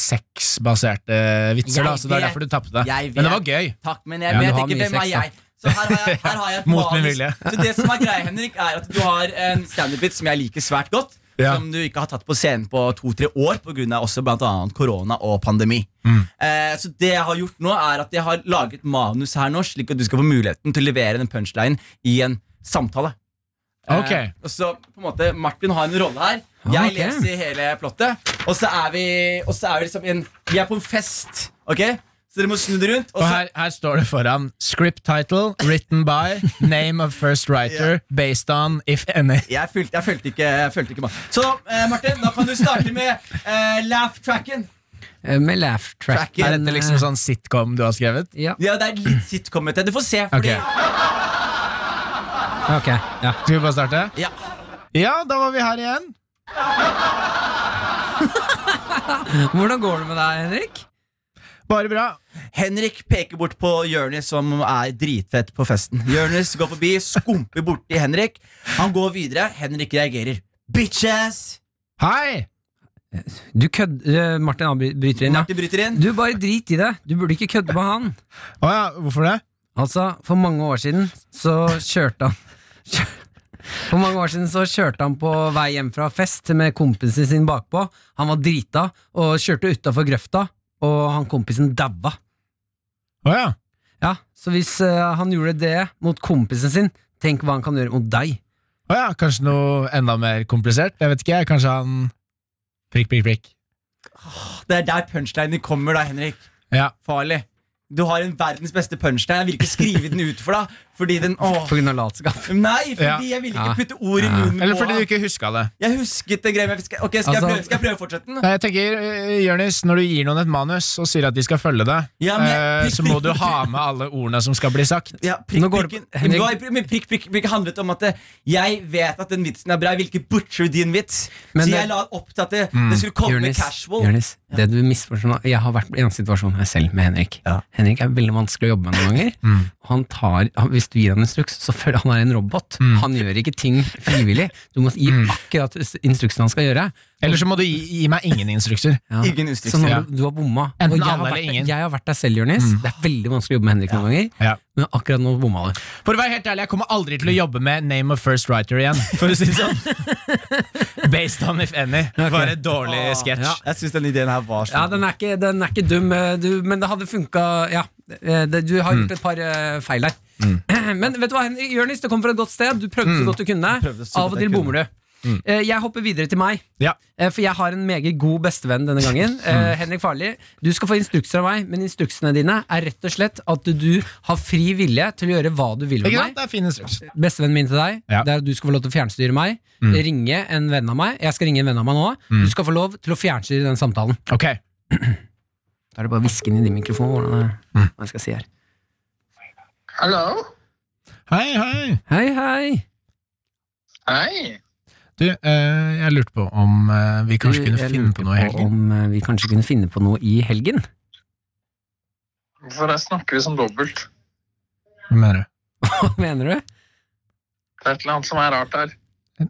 sexbaserte vitser,
Jeg
da, så det er
vet.
derfor du tapte.
Jeg
Men det
vet.
var gøy.
Takk, men jeg
Ja,
vet
du har
ikke
mye
hvem er
sex, da.
jeg. Så her har jeg, her har jeg et
Mot min
manus.
vilje.
Så det som er greia, Henrik, er at du har en standup-bit som jeg liker svært godt.
Ja.
Som du ikke har tatt på scenen på to-tre år pga. også blant annet korona og pandemi. Eh, så det jeg har gjort nå, er at jeg har laget manus her nå, slik at du skal få muligheten til å levere den punchlinen i en samtale.
Ok.
Eh, og så på en måte Martin har en rolle her. Jeg
ok.
leser hele plottet. Og så er vi, og så er vi liksom en, Vi er på en fest, OK? Så dere må snu dere rundt.
Og
så,
her, her står det foran script title, written by, name of first writer, based on, if any.
Jeg fulgte, jeg fulgte ikke, jeg fulgte ikke med. Så eh, Martin, da kan du starte med eh, laugh-tracken.
Eh, Med laugh track. eh,
Er dette liksom sånn sitcom du har skrevet?
Ja,
eh, Ja, det er litt sitcom-ete. Du får se. Fordi,
ok. Ja.
Skal vi bare starte?
Ja.
Ja, da var vi her igjen.
Hvordan går det med deg, Henrik?
Bare bra.
Henrik peker bort på Jonis, som er dritfett på festen. Jonis går forbi, skumper borti Henrik. Han går videre. Henrik reagerer. Bitches!
Hei!
Du kødd... eh, Martin avbry- bryter inn, ja.
Martin bryter inn.
Du, bare drit i det. Du burde ikke kødde med han.
Å ja, hvorfor det?
Altså, for mange år siden så kjørte han For mange år siden så kjørte han på vei hjem fra fest med kompisen sin bakpå. Han var drita og kjørte utafor grøfta, og han kompisen daua.
Å ja.
Ja, så hvis eh, han gjorde det mot kompisen sin, tenk hva han kan gjøre mot deg.
Å ja, kanskje noe enda mer komplisert? Jeg vet ikke, jeg. Kanskje han Prikk, prikk, prikk.
Det er der punchlinen kommer, da, Henrik.
Ja.
Farlig. Du har en verdens beste punchline. Jeg vil ikke skrive den ut for deg. Fordi den, åh.
På grunn av latskap.
Nei, fordi
Ja.
jeg ville
Ja.
ikke putte ord i
Ja.
munnen
Eller
på
fordi du
han.
ikke huska det.
Jeg husket det greia med skal, Ok, skal, jeg
Altså-
prøve, skal jeg prøve å fortsette den?
Nei, Jeg tenker, eh, Jørnis, Når du gir noen et manus og sier at de skal følge det,
Ja, men jeg-
eh, så må du ha med alle ordene som skal bli sagt.
Ja, prikk,
Nå går det-
prikken, Men hva- men prikk, prikk, prikk handlet om at det- jeg vet at den vitsen er bra. Jeg vil ikke butcher din vits.
Men
så
det-
jeg la opp til at det, det skulle komme casual.
Jonis, det du misforstår nå Jeg har vært i en situasjon her selv med Henrik. Henrik er veldig vanskelig å jobbe med noen ganger. Og han tar, han- hvis du gir han instruks, så føler han er en robot. Han gjør ikke ting frivillig. Du må gi akkurat s- instruksen han skal gjøre.
Eller så må du gi, gi meg ingen instrukser.
Ja.
Ingen
Så
instrukser.
nå,
Ja.
du, du har bomma.
Enten
Og jeg,
alle
har
eller
vært,
ingen.
jeg har vært der selv, Jonis. Det er veldig vanskelig å jobbe med Henrik noen ganger.
Ja.
Men akkurat nå bomma du.
For å være helt ærlig, Jeg kommer aldri til å jobbe med Name of First Writer igjen. For å si det sånn Based on if any. Bare dårlig sketsj.
Ja.
Jeg syns den ideen her var
Ja, den er ikke, den er ikke dum, eh, du, men det hadde funka Ja, eh, det, du
Mm.
har gjort et par eh, feil her. Men vet du hva, Henrik, Jonis, det kom fra et godt sted. Du prøvde så godt du kunne.
Mm. prøvde så
Av
godt
og
jeg
til
kunne. Mm.
bommer du. Eh, Jeg hopper videre til meg,
Ja.
eh, for jeg har en meget god bestevenn denne gangen.
Mm.
Eh, Henrik Farli, du skal få instrukser av meg, men instruksene dine er rett og slett at du har fri vilje til å gjøre hva du vil med
Ikke
meg.
sant? Det er fin instruks.
Bestevennen min til deg
Ja.
Det er at du skal få lov til å fjernstyre meg.
Mm.
Ringe en venn av meg. Jeg skal ringe en venn av meg nå. Du skal få lov til å fjernstyre den samtalen.
Ok,
Da er det bare å hviske inn i din mikrofon hvordan det,
Mm.
hva jeg skal si her.
Hallo?
Hei, hei.
Hei, hei!
Hei.
Du, eh, jeg lurte på om eh, vi kanskje
Du,
kunne
jeg
finne
lurte
på noe i helgen.
Om eh, vi kanskje kunne finne på noe i helgen?
Hvorfor snakker vi som dobbelt?
Hva mener du?
Hva mener du?
Det er et eller annet som er rart her.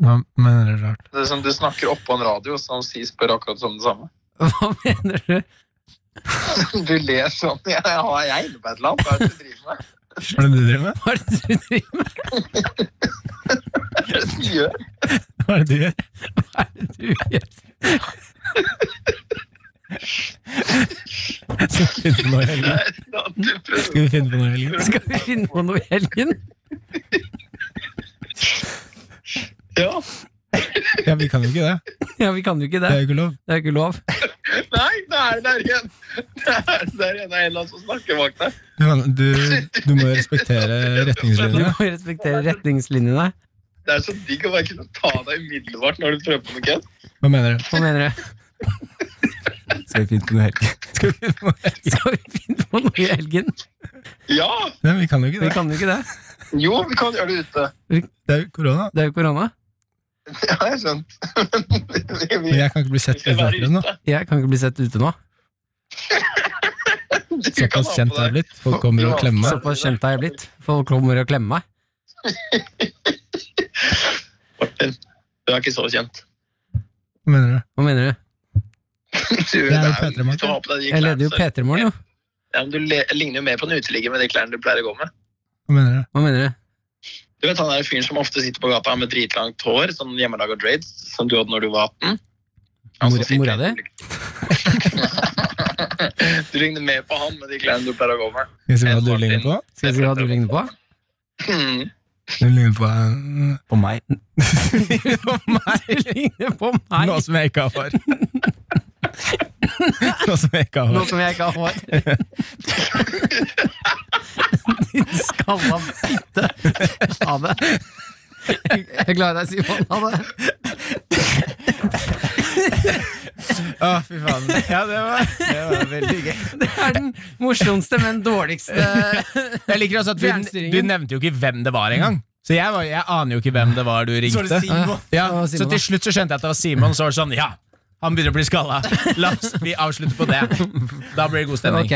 Hva mener du rart?
Det er som Du snakker oppå en radio, så si spør akkurat som det samme.
Hva mener du?
Du ler sånn. Jeg har jeg inne på et eller annet. Hva er det du driver med?
Hva er det du driver med?
Hva er det du driver med?
Hva er det du gjør?
Hva er det du gjør?
Hva er det du gjør?
Skal vi finne på noe i helgen?
Det er at Du prøver.
Skal vi finne på noe i helgen?
Skal vi finne på noe i helgen?
Ja.
Ja, vi kan jo ikke det.
Ja, vi kan jo ikke
Det
det.
er jo ikke lov.
Det er ikke lov.
Nei, det er det er igjen. Det er det er igjen. Det er en eller annen som snakker bak deg.
Du, kan- du, du må jo respektere
Du
retningslinjene.
må respektere retningslinjene.
Det er så digg å bare kunne ta deg umiddelbart når du prøver på noe kødd.
Hva mener du?
Hva mener du?
Skal vi finne på noe helt
Skal vi finne på noe i helgen?
Ja!
Nei, vi kan jo ikke
Vi
det.
kan jo ikke det.
Jo, vi kan gjøre det ute.
Det er jo korona.
Det er jo korona.
Ja, jeg har skjønt. Vi, vi,
Men jeg kan ikke bli
vi
sett
skal være
utenfor nå.
ute.
Jeg kan ikke bli sett ute nå.
Du kan
Såpass
ha
kjent er jeg
på deg-
blitt. Folk kommer og klemmer meg.
Såpass kjent har jeg blitt. Folk kommer og klemmer meg.
Martin, du er ikke så kjent.
Hva mener du?
Hva mener du?
Du, det
er jo
er,
Petra,
jo- hvis du har på deg de
Jeg leder
klærne,
jo
så-
P3 Morgen, jo.
ja, men du le, ligner jo mer på en uteligger med de klærne du pleier å gå med.
Hva mener du?
Hva mener du?
Du vet han der fyren som ofte sitter på gata med dritlangt hår, sånn hjemmelaga braids, som du hadde når du var 18? Han som
Mora- mora
sitter-
di?
du ligner mer på han med de klærne du pleier å gå med.
Skal jeg si hva du ligner på?
Skal jeg si hva du ligner på?
Hmm.
Du ligner på en-
på meg?
Du ligner på meg!
Noe som jeg ikke har hår. Noe som jeg ikke har
Nå
hår.
som jeg ikke har hår. Din skalla fitte. Ha det. Jeg klarer deg, Simon. Ha det.
Å, fy faen. Ja, det var, det var veldig gøy.
Det er den morsomste, men dårligste
Jeg liker også at du,
Fjernstyringen.
du nevnte jo ikke hvem det var engang. Så jeg, var, jeg aner jo ikke hvem det var du ringte. Ja,
Det var Simon,
så til slutt så skjønte jeg at det var Simon, så var det sånn Ja, han begynner å bli skalla. La oss vi avslutter på det. Da blir det god stemning.
Ok.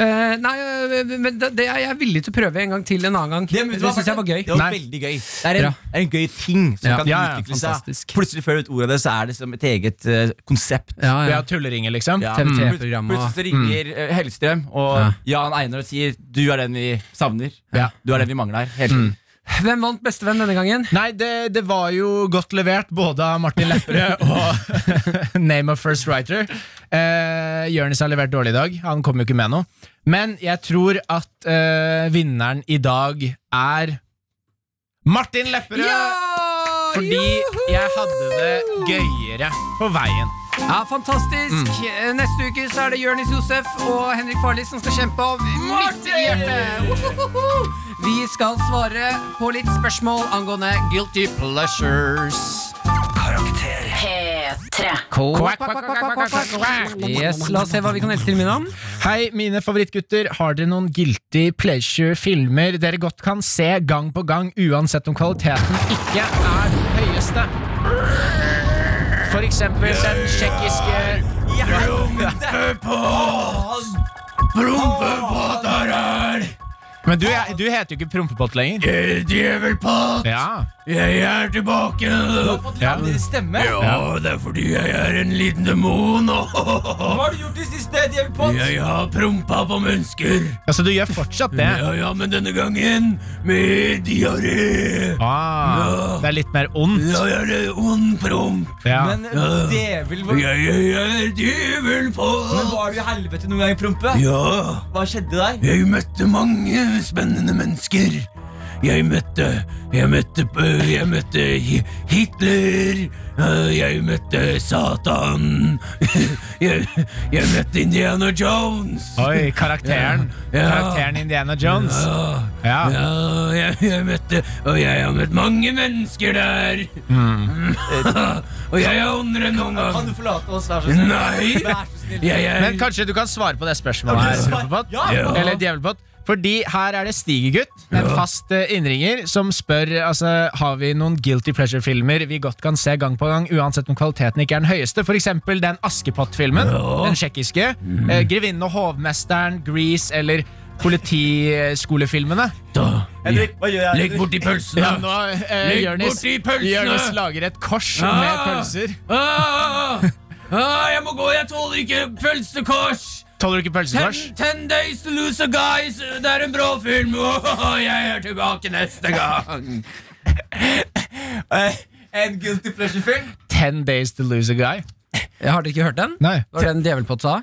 Eh, nei, eh, men det, det er jeg villig til å prøve en gang til en annen gang. Det,
men vet du hva,
synes syns jeg var gøy.
Det var
Nei.
veldig gøy. Det er
Bra.
en, det er en gøy ting som
Ja.
kan
Ja, ja,
utvikle
fantastisk.
seg. Plutselig før du vet ordet av det, så er det som et eget eh, konsept.
Ja,
Vi
ja.
har tulleringer, liksom.
Ja. mm.
TVT -program og-
Plutselig så ringer eh, Hellstrøm og
Ja.
Jan Einar og sier du er den vi savner.
Ja.
Du er den vi mangler her. Helt.
Hvem vant Bestevenn denne gangen?
Nei, det, det var jo godt levert både av Martin Lepperød og Name of First Writer. Eh, Jonis har levert dårlig i dag. Han kom jo ikke med noe. Men jeg tror at eh, vinneren i dag er Martin Lepperød! Fordi jeg hadde det gøyere på veien.
Ja, Fantastisk! Eh, Neste uke så er det Jonis Josef og Henrik Farli som skal kjempe om mitt hjerte. Wohoho! Vi skal svare på litt spørsmål angående guilty pleasures.
Karakter.
P3.
Quack, quack, quack, quack, quack, quack, quack. Yes, La oss se hva vi kan hjelpe til med. Nam.
Hei, mine favorittgutter. Har dere noen guilty pleasure-filmer dere godt kan se gang på gang, uansett om kvaliteten ikke er den høyeste? For eksempel den tsjekkiske
Prompepott har øl!
Men du, jeg- du heter jo ikke Prompepott lenger.
Djevelpott!
Ja.
Eh, Jeg er tilbake!
Ja.
Stemme?
Ja,
det er fordi jeg er en liten demon.
Hva har du gjort i siste? Djevelpott?
Jeg har prompa på mennesker.
Altså, du gjør fortsatt det.
Ja, ja, men denne gangen med diaré.
Ah, det er litt mer ondt.
Jeg er en ond promp.
Ja.
Men eh, djevel, hva,
Jeg, jeg, er djevel på
men var du i helvete noen gang, Prompe?
Ja,
Hva skjedde der?
jeg møtte mange spennende mennesker. Jeg møtte Jeg møtte øh, Jeg møtte Hi- Hitler. øh, Jeg møtte Satan. Jeg, jeg møtte Indiana Jones.
Oi, karakteren.
Ja.
Karakteren Indiana Jones.
Ja.
Ja.
Ja, jeg, jeg møtte Og jeg har møtt mange mennesker der.
Mm.
og jeg er ondere enn noen
Kan
gang.
du forlate oss, vær så snill?
Nei!
Vær så snill.
Jeg er
Men kanskje du kan svare på det
Kan
spørsmålet her,
du svare-
Prompepott?
Ja.
Eller Djevelpott. Fordi her er det Stigegutt, en fast eh, innringer, som spør altså, har vi noen guilty pleasure-filmer vi godt kan se gang på gang, uansett om kvaliteten ikke er den høyeste. For eksempel den Askepott-filmen, den tsjekkiske. Eh, Grevinnen og hovmesteren, Grease eller politiskolefilmene.
Da.
Henrik, hva gjør jeg?
Legg borti pølsene.
Ja, nå, eh,
Legg
Jørnis,
borti pølsene!
Jørnis lager et kors
Ah!
med pølser.
Ah! Ah, jeg må gå, jeg tåler ikke pølsekors.
Tåler du ikke
Ten,
pølsekors?
ten days to lose a guys. Det er en bra film. Åh, jeg er tilbake neste gang.
Eh, En guilty pleasure-film?
Ten days to lose a guy.
Jeg har dere ikke hørt den?
Nei.
Var det den Djevelpott sa?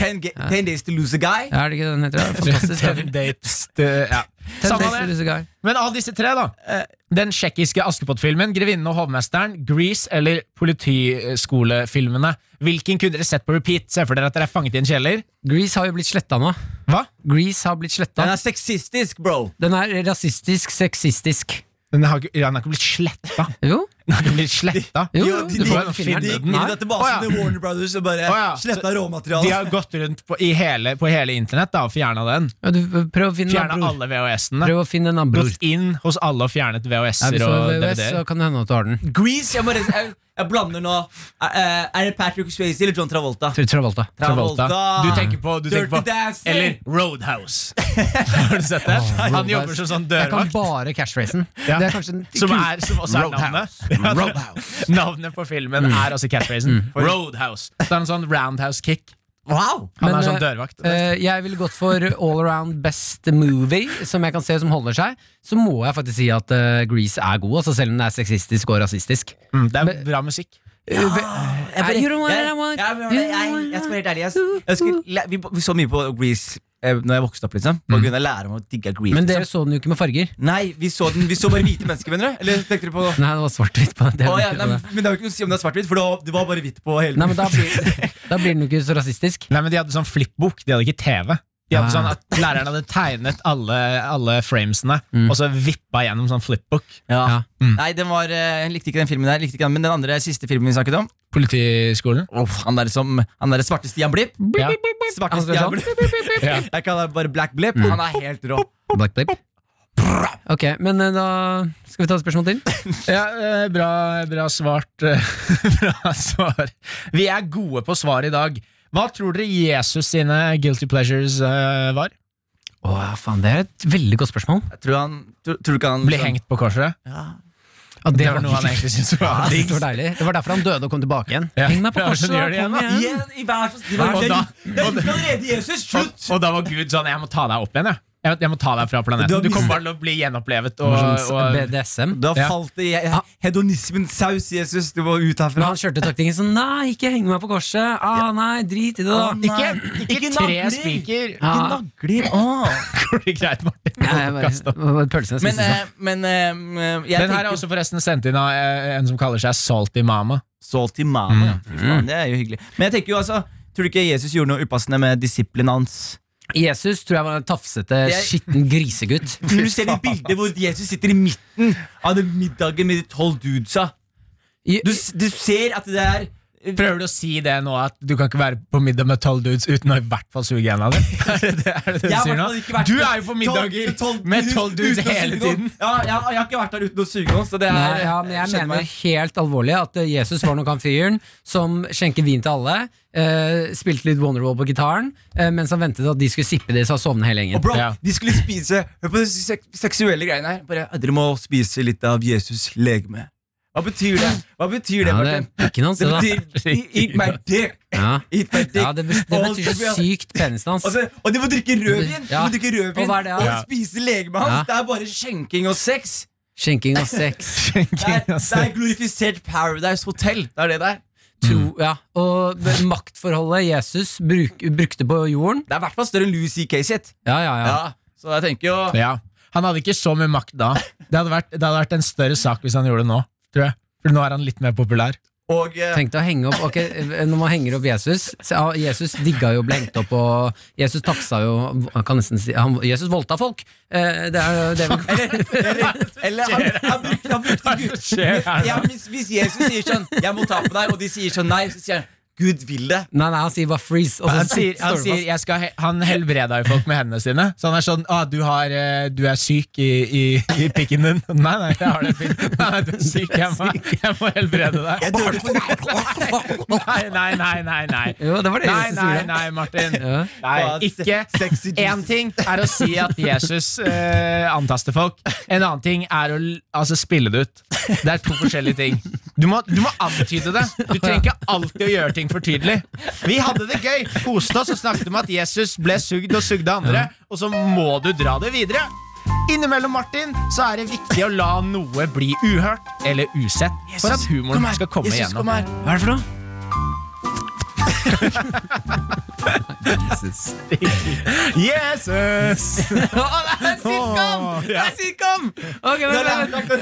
Ten, ga- ten Days to Lose a Guy?
Ja, Er det ikke den heter? Fantastisk.
Ten dates to, ja.
Ten
Samme
days
det.
to lose a guy.
Men av disse tre, da. Eh, Den tsjekkiske Askepott-filmen, 'Grevinnen og hovmesteren', Grease eller politiskolefilmene. Hvilken kunne dere sett på repeat? Se for dere at dere er fanget i en kjeller.
Grease har jo blitt sletta nå.
Hva?
Grease har blitt
Den
sletta.
er sexistisk, bro.
Den er rasistisk, sexistisk.
Den har, ikke- ja, den har ikke blitt sletta.
Jo,
Den har ikke blitt sletta.
jo,
Jo,
du
de-
får jo
de-
finne
De
den.
gikk ned til basen
Å, ja.
til Warner Brothers og bare
Å, ja.
sletta råmaterialet.
De har gått rundt på, i hele, på hele internett da, og fjerna den.
Ja, du, prøv å finne en
Fjerna
annen bror.
alle VHS-ene.
Prøv å finne en annen bror.
Gått inn hos alle og fjernet
Ja,
VHS-er
hvis du
og
har VVS,
DVD-er.
så kan det hende at du har den.
Grease, jeg, må res- jeg, jeg blander nå. Er, er det Patrick Swayze eller John Travolta?
Tra- Travolta.
Travolta.
Travolta.
Du tenker på, du
Dirty
tenker på
Dancing.
Eller Roadhouse. har du sett det? Han jobber som sånn
Jeg kan
dørvakt.
bare catchracen.
Ja.
Det er kanskje den
Som,
kul-
er, som også er navnet.
Roadhouse. Mm.
Ja, det- Navnet på filmen er altså catchphrasen. Roadhouse. Så er det en sånn roundhouse kick.
Wow!
Han
Men,
er sånn
eh,
dørvakt.
Eh, jeg ville gått for all around best movie, som jeg kan se som holder seg. Så må jeg faktisk si at eh, Grease er god, altså selv om den er sexistisk og rasistisk.
Mm, det er bra musikk.
Jeg, bare,
You
jeg,
don't want it, I
jeg,
want-
jeg,
you
jeg,
don't
jeg,
want it.
jeg skal være helt ærlig. Jeg, jeg skulle, læ- vi, vi så mye på Grease eh, Når jeg vokste opp, liksom. På grunn av læreren vår digga Grease.
Mm. Men dere
liksom.
så den jo ikke med farger.
Nei, vi så den Vi så bare hvite mennesker, mener du? Eller tenkte du på
Nei, det var svart-hvitt på det.
Å, ja, nei, men det er jo ikke noe å si om det er svart-hvitt, for da- det var bare hvitt på hele
Nei, men da blir, da blir den jo ikke så rasistisk.
Nei, men De hadde sånn flipbok, de hadde ikke TV. De
Ah.
hadde sånn at Læreren hadde tegnet alle, alle framesene
Mm.
og så vippa gjennom sånn flipbook.
Ja.
Ja. Mm.
Nei, den var, eh, jeg likte ikke den filmen der. jeg Likte ikke den, men den andre siste filmen vi snakket om
Politiskolen.
Uff, Han der som Han derre svarte Stian Blipp.
Ja.
Svarte
Han som Mm. er
Stian
sånn.
Blipp.
Ja.
Jeg kaller han bare Black Blipp. Han er helt rå.
Black blip. Ok, men eh, da skal vi ta et spørsmål til.
Ja, eh, bra, bra svart. eh, bra svar. Vi er gode på svar i dag. Hva tror dere Jesus sine guilty pleasures eh, var?
Å, ja, faen, Det er et veldig godt spørsmål.
Jeg tror han Tror, tror du ikke han
Ble hengt på korset?
Ja,
Det var noe han egentlig syntes var
det
digg.
var deilig. Det var derfor han døde og kom tilbake igjen.
Ja.
Heng meg på
Ja,
korset,
men gjør
da.
det igjen,
Kom
da.
igjen.
Igjen, i hver sin- de
Nei,
var-
og
Det
da-
er ikke allerede Jesus!
Og,
Slutt!
og da var Gud sånn Jeg må ta deg opp igjen. Jeg, jeg, jeg må ta deg fra
Du har
planeten. Du
mistet-
kommer bare til å bli gjenopplevet. Og,
Sånn
og,
BDSM.
Da
Ja.
falt det i hedonismens saus, Jesus. Du må ut
Men
herfra.
han kjørte taktikken sånn Nei, ikke heng meg på korset. Ah, nei, drit i det, da.
ikke,
Ikke
ikke tre
nagler!
spiker!
Ja.
Nagler. Åh.
Går det greit, Martin?
Nei, jeg
Kast opp.
bare, pølsene
Men,
spises opp.
eh, men eh, jeg
Den her er
tenker-
også forresten sendt inn av eh, en som kaller seg Salty Mama.
Salty mama, ja. Fy
Mm.
faen, det er jo hyggelig. Men jeg tenker jo altså Tror du ikke Jesus gjorde noe upassende med disiplinen hans?
Jesus tror jeg var en tafsete,
eh, Jeg-
skitten grisegutt.
Når du ser de bilder hvor Jesus sitter i midten av den middagen med de tolv dudesa
I-
du, s- du ser at det er
Prøver du å si det nå at du kan ikke være på middag med tolv dudes uten å i hvert fall suge en av dem? Er det det, er det det
Jeg
du
har i
sier nå?
hvert fall ikke vært
Du
der
er jo på middager
tolv-
med tolv dudes
uten å
hele
suge noen.
tiden.
Ja, jeg, jeg har ikke vært der uten å suge noen, så det er
Nei, ja, men jeg
skjønner
mener
meg.
helt alvorlig at eh, Jesus var nok han fyren som skjenker vin til alle, eh, spilte litt Wonderwall på gitaren, eh, mens han ventet at de skulle sippe det, så han sovnet hele
Og
gjengen.
bro,
Ja.
de skulle spise Hør på de sek seksuelle greiene her. Bare, Dere må spise litt av Jesus' legeme. Hva betyr det? Hva betyr det,
Ja, det
Martin?
er pikken hans,
Det
det, da.
betyr Eat my dick!
Ja.
Eat my dick.
Ja, det, bet- det
Og
betyr
så-
så sykt penisen hans.
Og, så, og de må drikke rødvin!
Ja.
De må drikke rødvin
Og hva er det,
og
ja?
spise legemet hans!
Ja.
Det er bare skjenking og sex!
Skjenking og sex.
Det er, det er glorifisert Paradise Hotel. Det er det der.
Tro, ja. Og det maktforholdet Jesus bruk, brukte på jorden
Det er i hvert fall større enn Louis C.K. sitt.
Ja, ja, ja.
Ja. Så jeg tenker jo
Ja. Han hadde ikke så mye makt da. Det hadde, vært, det hadde vært en større sak hvis han gjorde det nå. Tror jeg. For nå er han litt mer populær.
Og eh,
Tenkte å henge opp Ok, eh, Når man henger opp Jesus så, ja, Jesus digga jo å bli hengt opp, og Jesus tafsa jo han kan nesten si, han, Jesus voldta folk! Eh, det er jo det vi
eller, eller, eller han, han brukte, han brukte Gud.
skjer her
Ja, altså. hvis, hvis Jesus sier sånn 'Jeg må ta på deg', og de sier sånn nei, så sier han 'Gud vil det'.
Nei, nei, han sier bare 'freeze', og så
Han sier, han,
står det
sier,
fast.
jeg skal he han helbreda jo folk med hendene sine. Så han er sånn ah, du, har, eh, 'Du er syk i, i, i pikken din.' Nei, nei, jeg har det fint. Nei, nei, du er syk. Jeg må, jeg må helbrede deg.
dør for
Nei, nei, nei, nei. nei.
Jo, det var det
Nei,
Jesus
nei,
gjorde.
nei, Martin.
Ja.
Nei,
Faen,
ikke
sexy Jesus.
Én ting er å si at Jesus eh, antaster folk. En annen ting er å l- altså, spille det ut. Det er to forskjellige ting. Du må, du må antyde det. Du trenger ikke alltid å gjøre ting for tydelig. Vi hadde det gøy, koste oss og snakket om at Jesus ble sugd og sugde andre, og så må du dra det videre. Innimellom Martin, så er det viktig å la noe bli uhørt eller usett for
Sånn,
at humoren skal komme igjennom.
Hva er det for noe? Jesus.
Jesus!
Å, det er sitcom! Det er sitcom! Ok, vent, vent,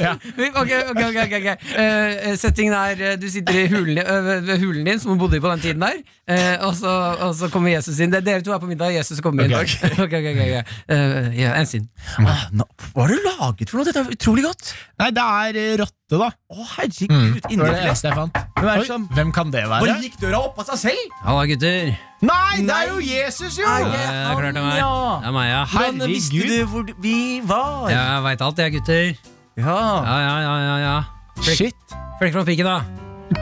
vent. ok, ok, ok, ok, ok. Eh, Settingen er eh, du sitter i hulen, eh, ved hulen din, som hun bodde i på den tiden der, eh, og, så, og så kommer Jesus inn. Det er dere to er på middag, Jesus kommer inn. Ok, ok, ok, ok. Eh, ja, en sin.
Ah, nå- Hva har du laget for noe? Dette er utrolig godt. Mm.
Nei, det er eh, rotte, da.
Å, herregud.
Det var
Inni
det eneste jeg fant.
Hvem er det
Oi,
som-
Hvem kan det være?
Bare gikk døra opp av seg selv?
Halla, gutter.
Nei, det er jo Jesus, jo!
Nei.
Det er klart det er meg.
Ja.
Det er meg, ja.
Hvordan visste du hvor vi var?
Ja, Jeg veit alt, jeg, gutter.
Ja.
Ja, ja, ja, ja, ja.
Shit.
Flekk fra piken, da.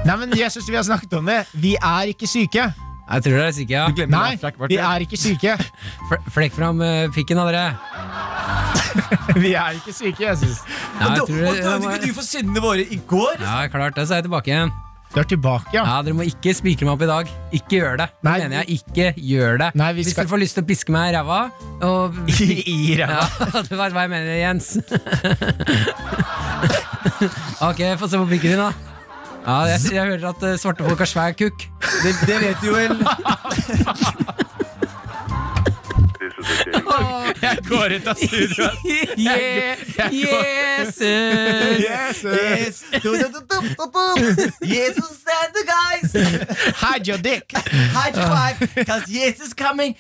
Nei, men Jesus, vi har snakket om det. Vi er ikke syke.
Jeg tror dere er sikre, ja.
Nei, vi er ikke syke.
Fle- Flekk fram eh, pikken av dere.
Vi er ikke syke, Jesus.
Ja, jeg
Og
tror
dø- og
dere-
døde ikke du for syndene våre i går?
Ja, klart det, så er jeg tilbake igjen.
Du er tilbake, ja.
Ja, Dere må ikke spikre meg opp i dag. Ikke gjør det. Det
Nei.
mener jeg. Ikke gjør det.
Nei, vi
Hvis
skal-
dere får lyst til å piske meg i ræva og
I
ja,
ræva.
Du vet hva jeg mener, Jens. ok, få se på pikken din, da. Ja, jeg, jeg hører at eh, svarte folk har svær kukk.
Det, det vet du vel.
Jeg går ut av studio.
Yeah, Jesus!
Jesus.
Du, du, du, du, du, du. Jesus said the guys
Hide your dick.
High five Cause Jesus coming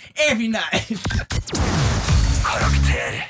every night
Karakter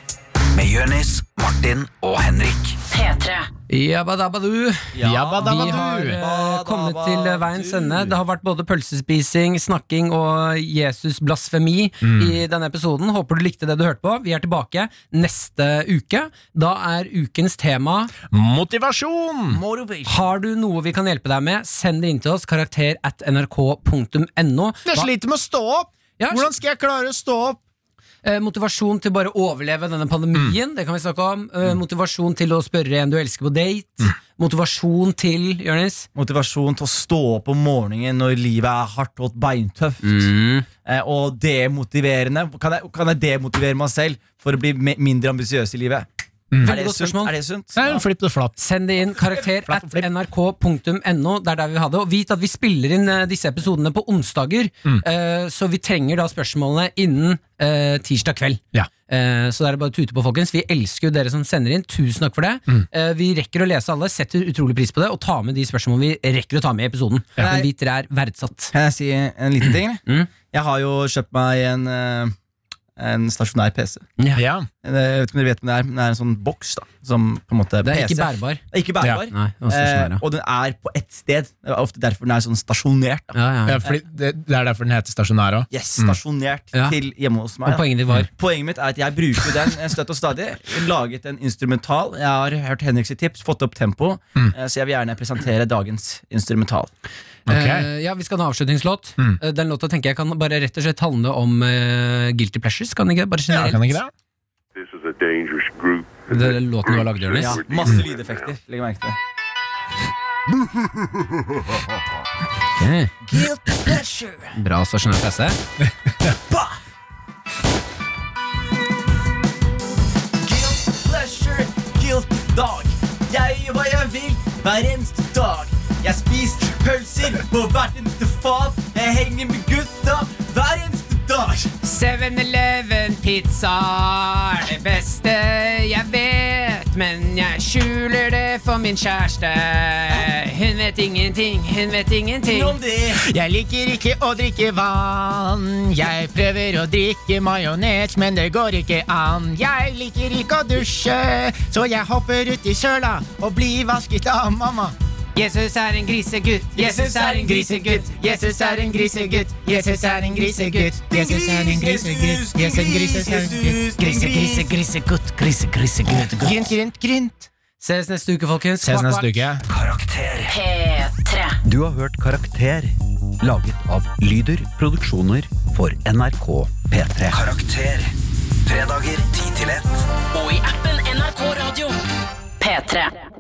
med Jønis, Martin og Henrik.
P3.
Jabba dabba du.
Jabba dabba
Vi har
du.
eh, kommet
Dabba
til eh, veiens ende. Det har vært både pølsespising, snakking og Jesus-blasfemi i denne episoden. Håper du likte det du hørte på. Vi er tilbake neste uke. Da er ukens tema
Motivasjon.
Motivation
Har du noe vi kan hjelpe deg med, send det inn til oss. Karakter at nrk.no.
Jeg sliter med å stå opp.
Ja,
Hvordan skal jeg klare å stå opp?
Eh, motivasjon til bare å overleve denne pandemien, det kan vi snakke om. Eh, motivasjon til å spørre en du elsker på date. Motivasjon til, Jonis
Motivasjon til å stå opp om morgenen når livet er hardt og beintøft.
Mm.
Eh, og demotiverende. Kan jeg, kan jeg demotivere meg selv for å bli me- mindre ambisiøs i livet? Er,
Veldig
det
godt
sunt?
spørsmål.
er det sunt?
Nei, Flipp det flapp.
Send det inn karakter
Flatt
at
og flipp.
nrk.no. Det er der vi har det. Og vit at vi spiller inn eh, disse episodene på onsdager, eh, så vi trenger da spørsmålene innen eh, tirsdag kveld.
Ja.
Eh, så det er bare å tute på, folkens. Vi elsker jo dere som sender inn. Tusen takk for det. Eh, vi rekker å lese alle, setter utrolig pris på det, og tar med de spørsmålene vi rekker å ta med i episoden. Men vit dere er verdsatt.
Kan jeg si en liten ting? eller?
Mm.
Jeg har jo kjøpt meg en, eh, en stasjonær PC.
Ja.
Eh, Jeg vet ikke om dere vet men det er, men det er en sånn boks da som på en måte
Det er
PC.
ikke bærbar.
Det er ikke bærbar.
Nei, det var
Eh,
stasjonær, ja.
og den er på ett sted. Det er ofte derfor den er sånn stasjonert. Da.
Ja, ja, ja.
Ja, fordi det, det er derfor den heter stasjonær òg.
Yes, stasjonert
Ja.
til hjemme hos meg.
Og
da.
poenget ditt var
Poenget mitt er at jeg bruker den eh, støtt og stadig. Laget en instrumental. Jeg har hørt Henriks tips, fått opp tempo,
Mm.
eh, så jeg vil gjerne presentere dagens instrumental.
Ok. Mm.
Eh, ja, Vi skal ha en avslutningslåt. Eh, den låta tenker jeg kan bare rett og slett handle om eh, guilty pleasures. Kan den ikke det? Bare
Ja,
generelt.
kan ikke det?
det? er låten du har lagd, Jonis.
Ja, masse lydeffekter. Legg merke til det.
Ok.
Guilty pleasure.
Bra stasjonær presse.
Guilty pleasure, guilty dog. Jeg gjør hva jeg vil hver eneste dag. Jeg spiser pølser på hvert eneste fat. Jeg henger med gutta hver eneste dag.
7-Eleven-pizza er det beste jeg vet, men jeg skjuler det for min kjæreste. Hun vet ingenting, hun vet ingenting.
Om det
Jeg liker ikke å drikke vann. Jeg prøver å drikke majones, men det går ikke an. Jeg liker ikke å dusje, så jeg hopper uti søla og blir vasket av mamma.
Jesus er en grisegutt, Jesus er en grisegutt, Jesus er en grisegutt, Jesus er en grisegutt, Jesus er en grisegutt, Jesus er en grisegutt, grise, grise, grisegutt, grise, grisegutt.
Grint, grint, grint.
Ses neste uke, folkens.
Ses neste uke.
Karakter.
P3.
Du har hørt Karakter, laget av Lyder Produksjoner for NRK P3. Karakter. Fredager 10 til 1.
Og i appen NRK Radio. P3.